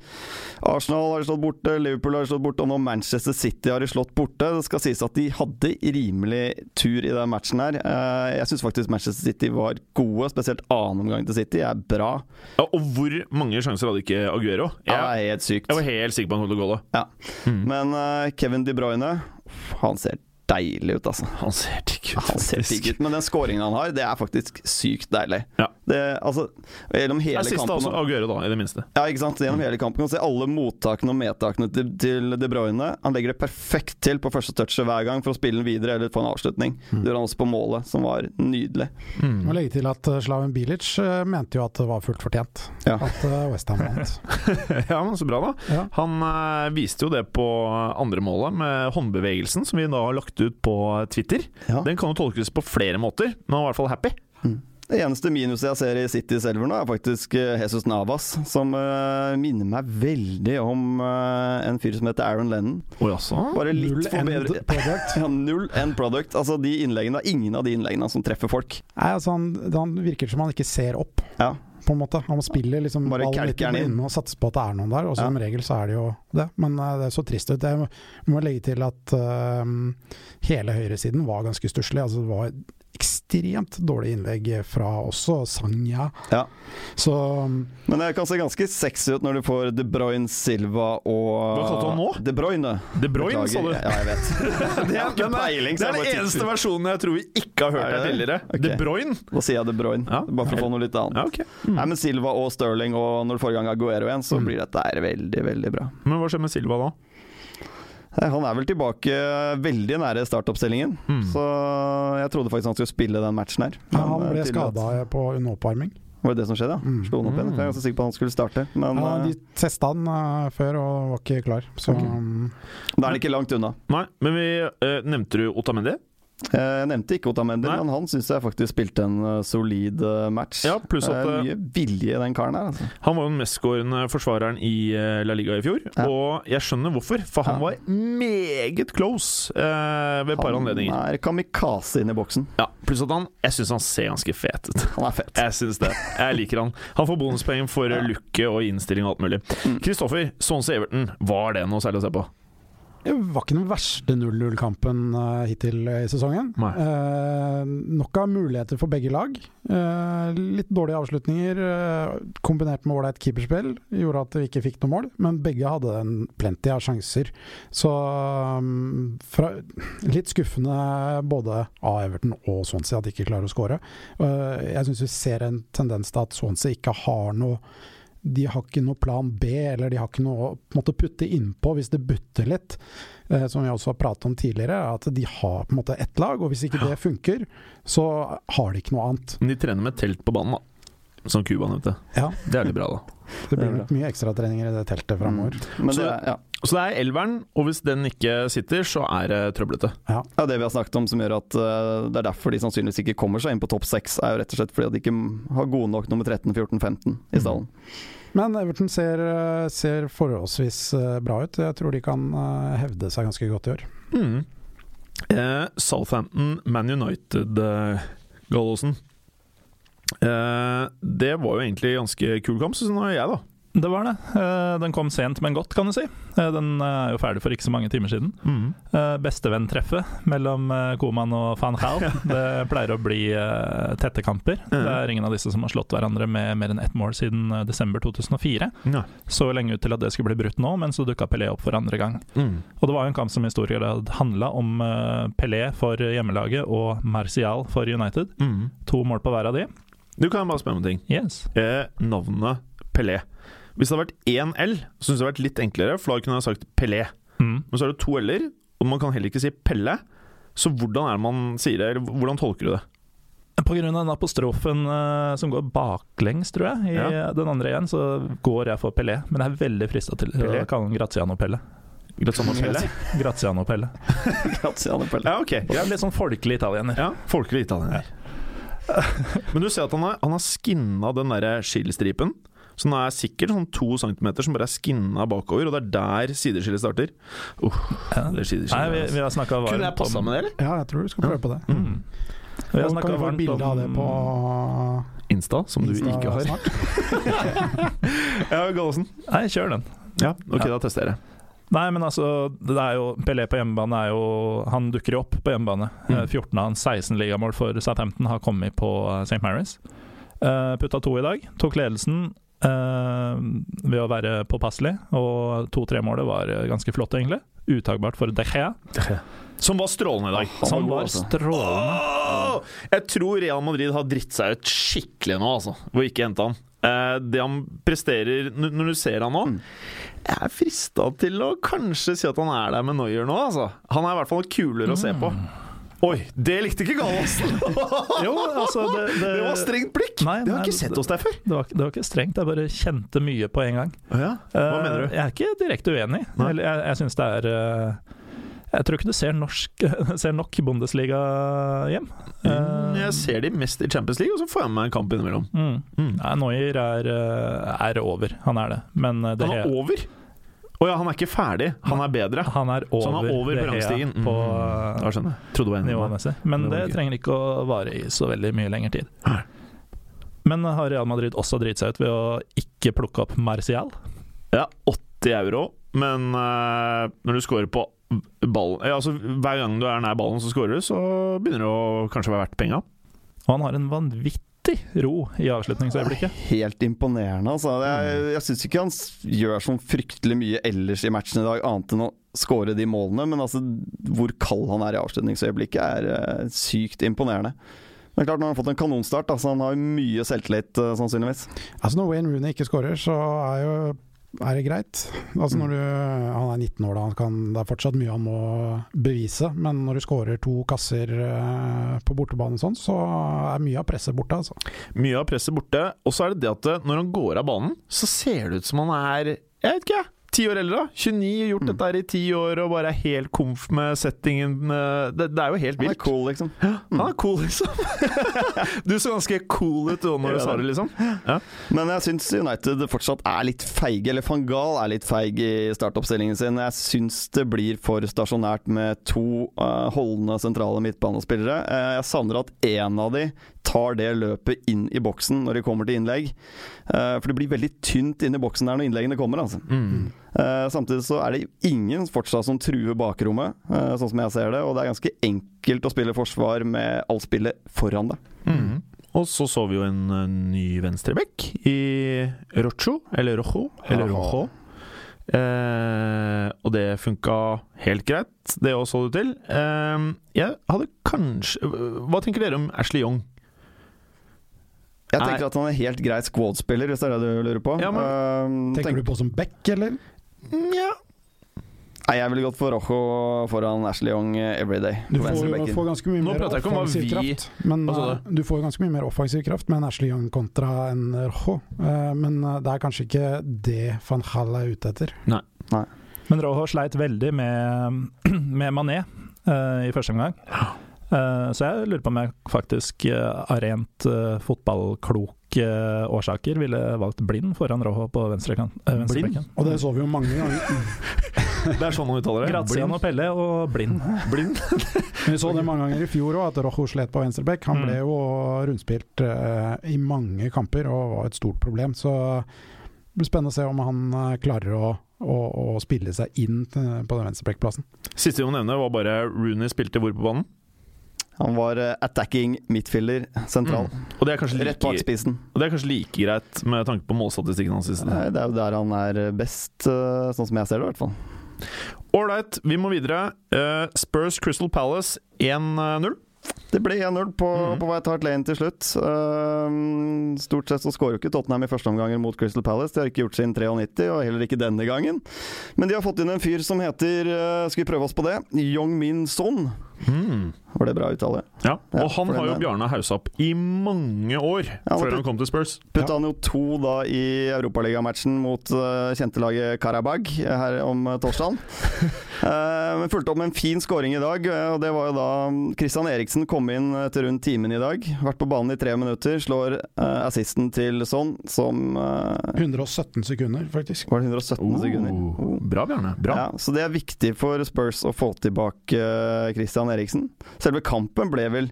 Arsenal har de slått borte, Liverpool har de slått borte, og nå Manchester City har de slått borte. Det skal sies at de hadde rimelig tur i den matchen her. Eh, Jeg syns faktisk Manchester City var gode, spesielt annen omgang til City er bra. Ja, og hvor mange sjanser hadde ikke Aguero? Det Jeg, er helt sykt. jeg var helt sikker på han holdt å gå da. Mm. Ja. Men eh, Kevin De Bruyne, han ser deilig ut, altså. Han ser digg ut, Han ser digg ut, men den scoringen han har, det er faktisk sykt deilig. Ja. Det, altså, gjennom Det hele er siste kampen altså, Aguero, da, i det minste. Ja, ikke sant? Gjennom hele kampen kan du se alle mottakene og medtakene til, til De Bruyne. Han legger det perfekt til på første touchet hver gang for å spille den videre eller få en avslutning. Mm. Det gjør han også på målet, som var nydelig. Mm. Jeg Må legge til at eh, Slaven Bilic eh, mente jo at det var fullt fortjent Ja. at eh, West Ham vant. Ja, men så bra, da. Ja. Han eh, viste jo det på andre målet med håndbevegelsen, som vi da har lagt ut på Twitter. Ja. Den kan jo tolkes på flere måter, men han var i hvert fall happy. Det eneste minuset jeg ser i City selv nå, er faktisk eh, Jesus Navas, som eh, minner meg veldig om eh, en fyr som heter Aaron Lennon. Oi, altså? Bare litt end forbedret. product. Ja, null end product. Altså, de innleggene, det er ingen av de innleggene som treffer folk. Nei, altså han, han virker som han ikke ser opp, Ja. på en måte. Han spiller liksom Bare ballen kalker han litt inn. inne og satser på at det er noen der, og Ja. som regel så er det jo det. Men eh, det er så trist ut. Jeg må, må legge til at eh, hele høyresiden var ganske stusslig. Altså, det var ekstremt dårlige innlegg fra også Sanja. Ja. Så mm, Men det kan se ganske sexy ut når du får De Bruyne, Silva og Hva kalte du han nå? De Bruyne. De Bruyne, sa du? Beklager. Ja, jeg vet. det er ikke Den er- peiling. det er den eneste versjonen jeg tror vi ikke har hørt Er her det det? tidligere. Ok. De Bruyne. Da sier jeg De Bruyne, Ja. bare for å få noe litt annet. Ja, ok. Nei, men Silva og Sterling, og når du får i gang Aguero igjen, så Mm. blir dette her veldig, veldig bra. Men hva skjer med Silva da? Nei, Han er vel tilbake eh, veldig nære startoppstillingen, Mm. så jeg trodde faktisk han skulle spille den matchen her. ja, han Men, eh, ble tydelig at- skada på under oppvarming. Var det det som skjedde, ja? Mm. Slo han opp igjen? Mm. Jeg er ganske sikker på at han skulle starte, men Ja, eh, de testa han eh, før og var ikke klar, så Ok. mm, da er han ikke langt unna. Nei, men vi eh, Nevnte du Otamendi? Eh, Jeg nevnte ikke Otamendi, Nei. men han syns jeg faktisk spilte en eh, solid eh, match. Ja, pluss at Eh, eh, Mye vilje i den karen her, altså. han var jo den mestskårende forsvareren i eh, La Liga i fjor. Ja. Og jeg skjønner hvorfor, for han Ja. var meget close eh, ved et par anledninger. Han er kamikaze inne i boksen. Ja, Pluss at han Jeg syns han ser ganske fet ut. Han er fett. Jeg syns det. Jeg liker han. Han får bonuspoeng for eh, looket og innstilling og alt mulig. Mm. Kristoffer, Swansea Everton, var det noe særlig å se på? Det var ikke den verste 0-0-kampen eh, hittil i sesongen. Nei. Eh, nok av muligheter for begge lag. Eh, litt dårlige avslutninger eh, kombinert med ålreit keeperspill gjorde at vi ikke fikk noe mål, men begge hadde en plenty av sjanser. Så mm, fra, litt skuffende både av Everton og Swansea at de ikke klarer å skåre. Eh, jeg syns vi ser en tendens til at Swansea ikke har noe de har ikke noe plan B, eller de har ikke noe å på en måte, putte innpå hvis det butter litt. Eh, som vi også har pratet om tidligere, er at de har på en måte ett lag, og hvis ikke det funker, så har de ikke noe annet. De trener med telt på banen, da. Som Cuba nevnte. Ja, Det er litt bra, da. Det Mm. blir nok mye ekstratreninger i det teltet framover. Men Så- det, er- ja. Så det er elveren, og hvis den ikke sitter, så er det trøblete. Ja, det vi har snakket om som gjør at eh, det er derfor de sannsynligvis ikke kommer seg inn på topp seks, er jo rett og slett fordi at de ikke har gode nok nummer 13, 14, 15 i stallen. Men Everton ser, eh, ser forholdsvis eh, bra ut. Jeg tror de kan eh, hevde seg ganske godt i år. Mm. Eh, Southampton, Man United, eh, Gallosen. Eh, det var jo egentlig ganske kul kamp, syns nå jeg, da. Det var det. Eh, Den kom sent, men godt, kan du si. Eh, Den eh, er jo ferdig for ikke så mange timer siden. Eh, Bestevenntreffet mellom eh, Koman og van Gaal. Det pleier å bli eh, tette kamper. Mhm. Det er ingen av disse som har slått hverandre med mer enn ett mål siden eh, desember 2004. Nei. Så lenge ut til at det skulle bli brutt nå, men så dukka Pelé opp for andre gang. Mm. Og det var jo en kamp som i stor grad handla om eh, Pelé for hjemmelaget og Martial for United. Mm. To mål på hver av de. Du kan bare spørre om en ting. Yes. eh, navnet Pelé. Hvis det hadde vært én L, så syns jeg det hadde vært litt enklere, for da kunne jeg sagt Pelé. Mm. Men så er det to L-er, og man kan heller ikke si Pelle. Så hvordan er det man sier det, eller hvordan tolker du det? På grunn av den apostrofen eh, som går baklengs, tror jeg, i Ja. eh, den andre igjen, så går jeg for Pelé. Men jeg er veldig frista til å Pelé? kalle han Graziano Pelle. Litt sånn appell? Graziano Pelle. Graziano Pelle. Ja, ok. Jeg er litt sånn folkelig italiener. Ja, folkelig italiener. Men du ser at han har, han har skinna den der skillestripen. Så den er sikkert sånn to centimeter som bare er skinna bakover, og det er der sideskillet starter. Uh, Ja. det er sideskillet, Nei, vi, altså. vi har snakka varmt Kunne jeg passa om med det, eller? Ja, jeg tror du skal prøve på det. Mm. Vi har Og kan snakka vi få et varmt bilde av det på Insta, som du Insta ikke har. snart? altså. Ja, Gallosen. Nei, kjør den. Ja, ok, da tester jeg det. Nei, men altså, det er jo, Pelé på hjemmebane er jo Han dukker jo opp på hjemmebane. Mm. Eh, 14 av hans 16 ligamål for Southampton har kommet på eh, St. Mary's. Eh, putta to i dag. Tok ledelsen eh, ved å være påpasselig, og 2-3-målet var eh, ganske flott, egentlig. Uttagbart for De Gea, Som var strålende i dag. som var strålende. altså. Åh! Jeg tror Real Madrid har dritt seg ut skikkelig nå, altså. Hvor ikke hente han. Eh, Det han presterer n- når du ser han nå Jeg er frista til å kanskje si at han er der med Noyer nå, altså. Han er i hvert fall kulere å se på. Oi, det likte ikke Gallosen! Jo, altså det, det, Det var strengt blikk! Nei, det har nei, jeg ikke sett hos deg før. det var, det var ikke strengt, jeg bare kjente mye på en gang. Hva Eh, mener du? Jeg er ikke direkte uenig. Nei. Eller Jeg, jeg syns det er eh, Jeg tror ikke du ser, norsk, ser nok Bundesliga hjem. Eh, Mm, Jeg ser de mest i Champions League, og så får jeg med meg en kamp innimellom. Mm. Mm. Nei, Neuer er, eh, er over. Han er det. Men eh, det Han er he- over! Å ja, han er ikke ferdig. Han er bedre. han er over, Så han er over det på rangstigen. Mm. he- på eh, Da skjønner jeg. Trodde du var enig med meg. nivåmessig. Men Det var det gøy. trenger ikke å vare i så veldig mye lenger tid. Nei. Men eh, har Real Madrid også driti seg ut ved å ikke plukke opp Martial? Ja, 80 euro, men eh, når du scorer på ballen ja, altså, Hver gang du er nær ballen som scorer, så begynner det å kanskje være verdt penga. Og han har en vanvittig ro i avslutningsøyeblikket. Helt imponerende, altså. Mm. Jeg, jeg syns ikke han s- gjør sånn fryktelig mye ellers i matchen i dag, annet enn å skåre de målene. Men altså, hvor kald han er i avslutningsøyeblikket, er eh, sykt imponerende. Men klart, nå har han fått en kanonstart, da, så han har jo mye selvtillit, eh, sannsynligvis. Altså Når Wayne Rooney ikke skårer, så er, jo, er det greit. Altså når du, Han er 19 år, da. Han kan, det er fortsatt mye han må bevise. Men når du skårer to kasser eh, på bortebane og sånn, så er mye av presset borte. Altså. Mye av presset borte. Og så er det det at eh, når han går av banen, så ser det ut som han er Jeg vet ikke, jeg. Ti år eldre, da. 29, Mm. gjort dette her i ti år og bare er helt komf med settingen. eh, Det, det er jo helt Han er vilt. cool, liksom. Han er cool, liksom. du så ganske cool ut da når du sa det, liksom. Men jeg syns United fortsatt er litt feige, eller van Gaal er litt feig i startoppstillingen sin. Jeg syns det blir for stasjonært med to eh, holdende sentrale midtbanespillere. Eh, jeg savner at én av de tar det løpet inn i boksen når de kommer til innlegg. Eh, for det blir veldig tynt inn i boksen der når innleggene kommer, altså. Mm. Mm. Eh, samtidig så er det ingen fortsatt som truer bakrommet, eh, sånn som jeg ser det. Og det er ganske enkelt å spille forsvar med alt spillet foran deg. Mhm. Og så så vi jo en eh, ny venstreback i Rocho, eller Rojo, eller Aha. Rojo. Eh, og det funka helt greit, det òg så det til. Eh, jeg hadde kanskje Hva tenker dere om Ashley Young? Jeg tenker at han er helt grei squad-spiller, hvis det er det du lurer på. Ja, men- Ehm, Tenker tenk- du på som back, eller? Nja Nei, jeg ville gått for Rojo foran Ashley Young eh, every day. Du på får, venstrebekken. får ganske mye Nå mer prater jeg ikke om hva offensiv vi- kraft. Men, Hva sa eh, du får ganske mye mer offensiv kraft med en Ashley Young kontra en Rojo. Eh, Men eh, det er kanskje ikke det van Hall er ute etter. Men Rojo sleit veldig med, med Mané eh, i første omgang. Eh, så jeg lurer på om jeg faktisk eh, av rent eh, fotballklok eh, årsaker ville valgt blind foran Rojo på venstrekant. eh, venstrebekken. Og Mm. det så vi jo mange ganger. Det er sånn han uttaler det. Graziano Pelle og blind. Blind. Vi så det mange ganger i fjor òg, at Rojo slet på venstreback. Han ble jo rundspilt eh, i mange kamper og var et stort problem. Så det blir spennende å se om han eh, klarer å, å, å spille seg inn eh, på den venstrebackplassen. Siste vi må nevne, var bare Rooney spilte hvor på banen. Han var eh, attacking midtfielder sentral. Og det er kanskje Rett bak like, spissen. og det er kanskje like greit med tanke på målstatistikken hans. siste. Nei, Det er jo der han er best, eh, sånn som jeg ser det, i hvert fall. Ålreit, vi må videre. Eh, Spurs Crystal Palace eh, 1-0. Det ble 1-0 på, Mhm. på White Hart Lane til slutt. Ehm, stort sett så skårer jo ikke Tottenham i første omgang mot Crystal Palace. De har ikke gjort sin 93, og heller ikke denne gangen. Men de har fått inn en fyr som heter eh, Skal vi prøve oss på det? Yong Min Son. Mm. Var det bra uttale? Ja. Ja, Og han for har jo den er- Bjarne haussa opp i mange år Ja, før det- han kom til Spurs. Putta han jo to da i Europaligamatchen mot uh, kjentelaget Karabag eh, her om uh, torsdagen. Eh, men fulgte opp med en fin scoring i dag. eh, og det var jo da mm, Christian Eriksen kom inn etter rundt timen i dag. Vært på banen i tre minutter. Slår eh, assisten til Son, som eh, 117 sekunder, faktisk. Var det 117 sekunder? Oh, bra, Bjarne. Bra. Ja, så det er viktig for Spurs å få tilbake eh, Christian Eriksen. Selve kampen ble vel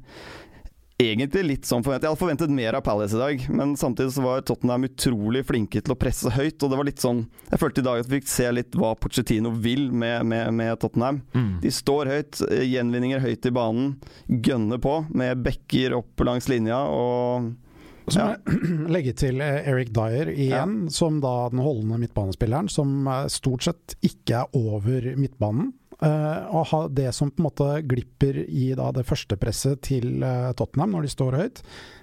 egentlig litt sånn forventet. Jeg hadde forventet mer av Palace i dag, men samtidig så var Tottenham utrolig flinke til å presse høyt, og det var litt sånn Jeg følte i dag at vi fikk se litt hva Pochettino vil med, med, med Tottenham. Mm. De står høyt, eh, gjenvinninger høyt i banen, gønner på med bekker opp langs linja og Så må Ja. jeg legge til eh, Eric Dyer igjen, som da den holdende midtbanespilleren, som eh, stort sett ikke er over midtbanen. Eh, og ha det som på en måte glipper i da, det første presset til eh, Tottenham når de står høyt,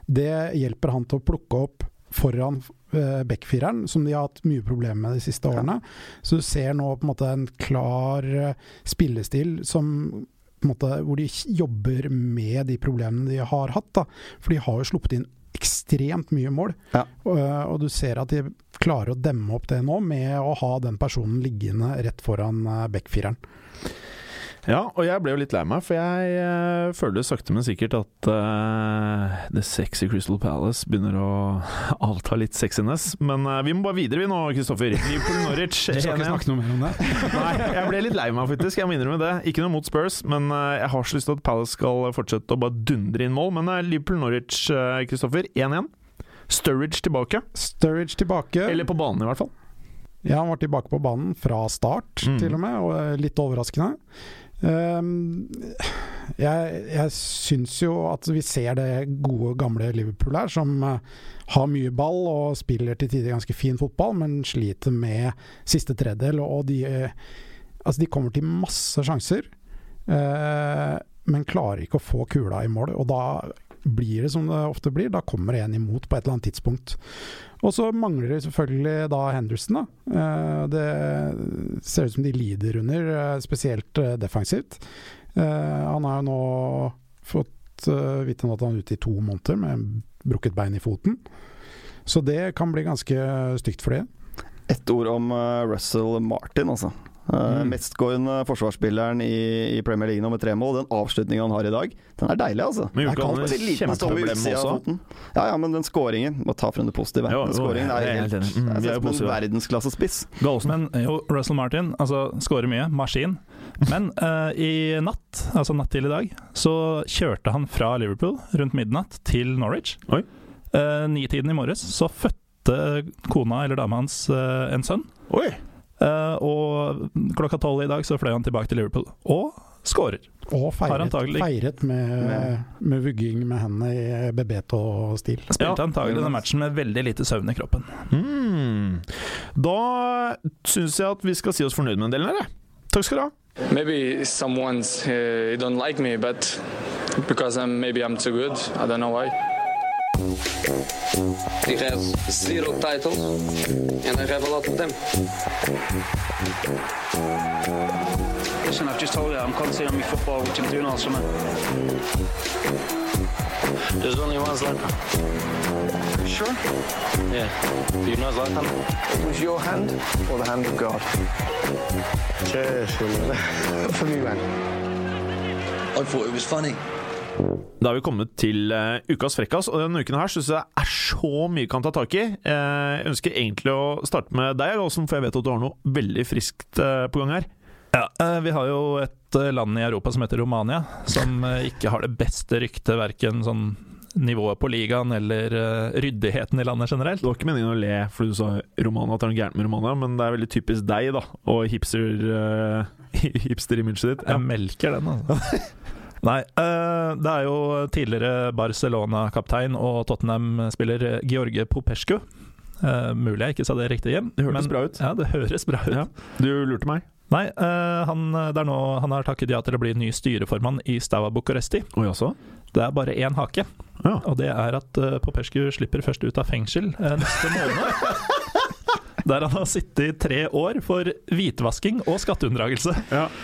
det hjelper han til å plukke opp foran eh, backfireren, som de har hatt mye problemer med de siste Ja. årene. Så du ser nå på en måte en klar eh, spillestil som på en måte, hvor de jobber med de problemene de har hatt. Da. For de har jo sluppet inn ekstremt mye mål. Ja. Og, og du ser at de klarer å demme opp det nå med å ha den personen liggende rett foran eh, backfireren. Ja, og jeg ble jo litt lei meg, for jeg eh, føler sakte, men sikkert at eh, The Sexy Crystal Palace begynner å avta litt sexiness. Men eh, vi må bare videre, vi nå, Kristoffer. Liverpool Norwich. Du skal 1-1. ikke snakke noe mer om det? Nei, jeg ble litt lei meg, faktisk. Jeg må innrømme det. Ikke noe mot Spurs, men eh, jeg har så lyst til at Palace skal fortsette å bare dundre inn mål. Men eh, Liverpool-Norwich, eh, Kristoffer, 1-1. Sturridge tilbake. Sturridge tilbake. Eller på banen, i hvert fall. Ja, han var tilbake på banen fra start, Mm. til og med, og eh, litt overraskende. Ehm, jeg jeg syns jo at vi ser det gode, gamle Liverpool her, som eh, har mye ball og spiller til tider ganske fin fotball, men sliter med siste tredjedel. Og de, eh, altså de kommer til masse sjanser, eh, men klarer ikke å få kula i mål. Og da blir det som det ofte blir, da kommer det en imot på et eller annet tidspunkt. Og så mangler det selvfølgelig da Henderson. da. Eh, Det ser ut som de lider under, eh, spesielt eh, defensivt. Eh, Han har jo nå fått eh, vite nå at han er ute i to måneder med brukket bein i foten. Så det kan bli ganske stygt for det. Ett ord om eh, Russell Martin, altså. Eh, Mm. Mestgående forsvarsspilleren i, i Premier League nå med tre mål. Den avslutninga han har i dag, den er deilig, altså. Men gjorde Det er ikke han kaldt, en en liten stå ved kjempeblem utsida av også? foten. Ja, ja, men den skåringen Må ta frem det positive. Jo, jo, den skåringen jeg er er helt helt enig. Mm, vi er Det jo er som en positive. verdensklassespiss. Galsen. Men eh, jo, Russell Martin altså, skårer mye, maskin. Men eh, i natt, altså natt til i dag, så kjørte han fra Liverpool rundt midnatt til Norwich. Oi. Eh, nitiden i morges så fødte kona eller dama hans eh, en sønn. Oi! Eh, og klokka tolv i dag så fløy han tilbake til Liverpool, og skårer. Og Har feiret, antagelig- feiret med, med vugging med hendene i Bebeto-stil. Spilte Ja. antagelig den matchen med veldig lite søvn i kroppen. Mm. Da syns jeg at vi skal si oss fornøyd med en del, eller? Takk skal du ha. Maybe someone's uh, don't like me, but because I'm maybe I'm too good. I don't know why. He has zero titles, and I have a lot of them. Listen, I've just told you I'm concentrating on my football, which I'm doing all summer. There's only one Zlatan. Sure? Yeah. Do you know Zlatan? Was your hand or the hand of God? For me, man. I thought it was funny. Da har vi kommet til eh, ukas frekkas, og denne uken her syns jeg er så mye kan ta tak i. Eh, jeg ønsker egentlig å starte med deg, Galsen, for jeg vet at du har noe veldig friskt eh, på gang her. Ja, eh, Vi har jo et eh, land i Europa som heter Romania, som eh, ikke har det beste ryktet, verken sånn nivået på ligaen eller eh, ryddigheten i landet generelt. Det var ikke meningen å le fordi du sa Romana, at det er noe gærent med Romana, men det er veldig typisk deg, da, og hipster, eh, hipster-imaget ditt. Um, Jeg melker den, altså. Nei, eh, det er jo tidligere Barcelona-kaptein og Tottenham-spiller George Popescu. Eh, mulig jeg ikke sa det riktig hjem. Det hørtes bra ut. Ja, det høres bra ut. Ja. Du lurte meg. Nei, eh, han, det er nå, han har takket ja til å bli ny styreformann i Staua Bucuresti. Oi, altså? Det er bare én hake, Ja. og det er at eh, Popescu slipper først ut av fengsel eh, neste måned. Der han har sittet i tre år for hvitvasking og skatteunndragelse.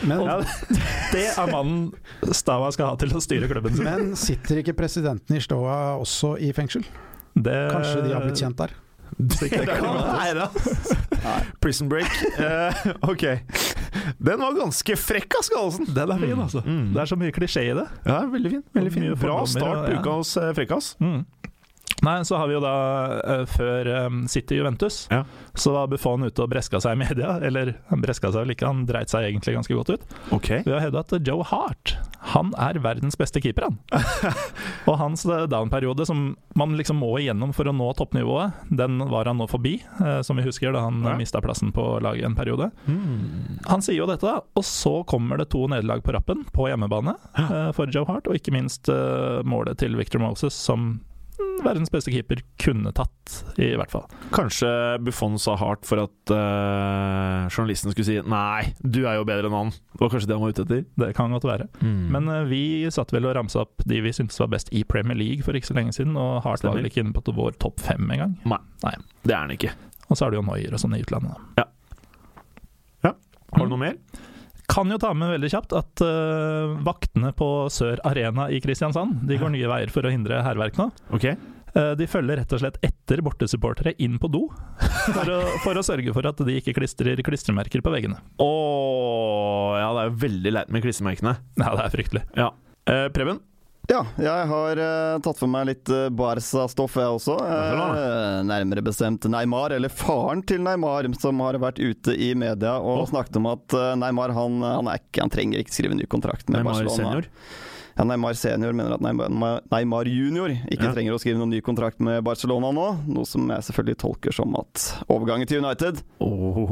Men- og det er mannen Stava skal ha til å styre klubben sin. Men sitter ikke presidenten i Stoa også i fengsel? Det- Kanskje de har blitt kjent der? Det kan Nei da. Prison Break. Eh, ok. Den var ganske frekk, Aske Halsen. Den er fin, Mm. altså. Det er så mye klisjé i det. Ja, veldig fin. veldig fin. Bra Fordommer, start på ja. uka hos eh, Frekkas. Mm. Nei, så har vi jo da eh, før eh, City Juventus, Ja. så var Buffon ute og breska seg i media. Eller han breska seg vel ikke, han dreit seg egentlig ganske godt ut. Ok. Vi har hevda at Joe Hart han er verdens beste keeper, han. og hans eh, down-periode, som man liksom må igjennom for å nå toppnivået, den var han nå forbi, eh, som vi husker, da han Ja. ja. mista plassen på laget en periode. Mm. Han sier jo dette, da, og så kommer det to nederlag på rappen på hjemmebane eh, for Joe Hart, og ikke minst eh, målet til Victor Moses, som mm, verdens beste keeper kunne tatt, i hvert fall. Kanskje Buffon sa hardt for at eh, journalisten skulle si 'nei, du er jo bedre enn han'. Det var kanskje det han var ute etter. Det kan godt være. Men eh, vi satt vel og ramsa opp de vi syntes var best i Premier League for ikke så lenge siden, og Hart var Stemmer. vel ikke inne på t- vår topp fem engang. det er han ikke. Og så er det jo Noyer og sånn i utlandet. da. Har du noe mer? Kan jo ta med veldig kjapt at eh, vaktene på Sør Arena i Kristiansand de går nye veier for å hindre hærverk nå. Ok. Eh, De følger rett og slett etter bortesupportere inn på do, for å, for å sørge for at de ikke klistrer klistremerker på veggene. Åh, ja, det er jo veldig leit med klissemerkene. Ja, det er fryktelig. Ja. Eh, Preben? Ja, jeg har eh, tatt for meg litt eh, Barca-stoff, jeg også. Eh, nærmere bestemt Neymar, eller faren til Neymar, som har vært ute i media og snakket om at eh, Neymar han, han, er ikke, han trenger ikke skrive ny kontrakt med Neymar Barcelona. senior? Ja, Neymar senior mener at Neymar, Neymar junior ikke Ja. trenger å skrive noen ny kontrakt med Barcelona nå, noe som jeg selvfølgelig tolker som at overgangen til United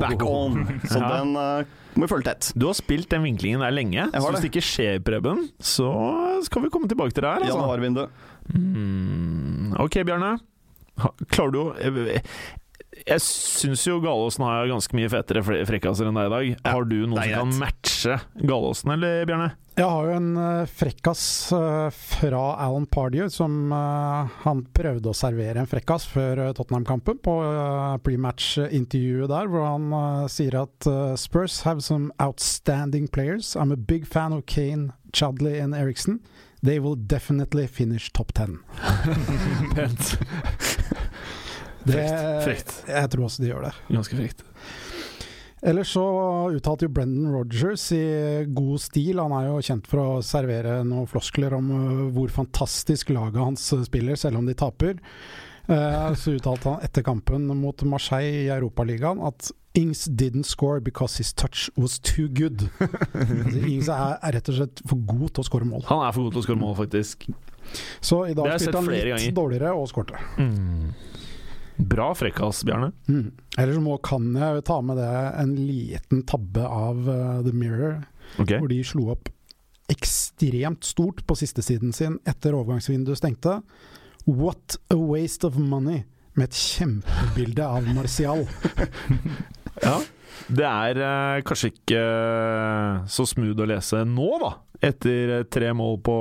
back on! Så Ja. den eh, må vi følge tett. Du har spilt den vinklingen der lenge, Jeg så har hvis det det. ikke skjer, Preben, så skal vi komme tilbake til det her. Altså. Januarvindu. Mm, ok, Bjarne. Ha- Klarer du å eh, Jeg syns jo Galåsen har ganske mye fetere fre- frekkaser enn deg i dag. Har du noen det som er kan matche Galåsen, eller, Bjarne? Jeg har jo en eh, frekkas eh, fra Alan Pardew, som eh, han prøvde å servere en frekkas før eh, Tottenham-kampen, på eh, pre-match-intervjuet der, hvor han eh, sier at eh, Spurs have some outstanding players. I'm a big fan of Kane, Chadley and Eriksen. They will definitely finish top ten. Pent. Det, Frekt. jeg tror også de gjør det. Ganske frekt. Ellers så uttalte jo Brendan Rogers i god stil. Han er jo kjent for å servere noen floskler om øh, hvor fantastisk laget hans øh, spiller, selv om de taper. Eh, Så uttalte han etter kampen mot Marseille i Europaligaen at Ings didn't score because his touch was too good. Altså, Ings er, er rett og slett for god til å skåre mål. Han er for god til å skåre mål, faktisk. Så Det i har dag jeg sett spilte han litt flere ganger. dårligere og skårte. Bra frekkas, Bjarne. Mm. Ellers må, kan jeg ta med det en liten tabbe av eh, The Mirror. Ok. hvor de slo opp ekstremt stort på sistesiden sin etter overgangsvinduet stengte. What a waste of money! Med et kjempebilde av Martial. Ja. Det er eh, kanskje ikke eh, så smooth å lese nå, da. Etter eh, tre mål på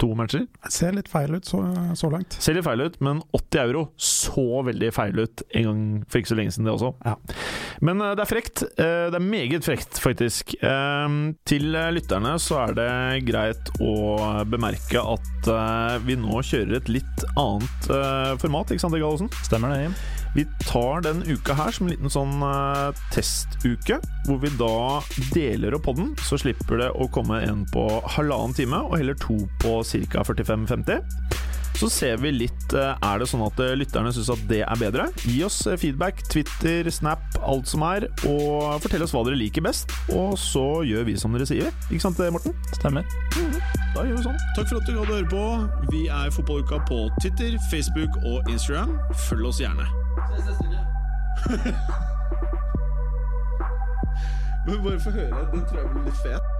to matcher. Ser litt feil ut så, så langt. Ser litt feil ut, men 80 euro så veldig feil ut en gang for ikke så lenge siden, det også. Ja. Men eh, det er frekt. Eh, det er meget frekt, faktisk. Eh, til eh, lytterne så er det greit å bemerke at eh, vi nå kjører et litt annet eh, format, ikke sant, Egil Aasen? Stemmer det, Jim? Vi tar den uka her som en liten sånn eh, testuke, hvor vi da deler opp podden, så slipper det å komme en på halvannen time, og heller to på ca. 45-50. Så ser vi litt eh, Er det sånn at eh, lytterne syns at det er bedre? Gi oss eh, feedback, Twitter, Snap, alt som er, og fortell oss hva dere liker best. Og så gjør vi som dere sier. Ikke sant, eh, Morten? Stemmer. Da gjør vi sånn. Takk for at du gadd å høre på. Vi er Fotballuka på Twitter, Facebook og Instagram. Følg oss gjerne. Men bare få høre. Den tror jeg blir litt fet.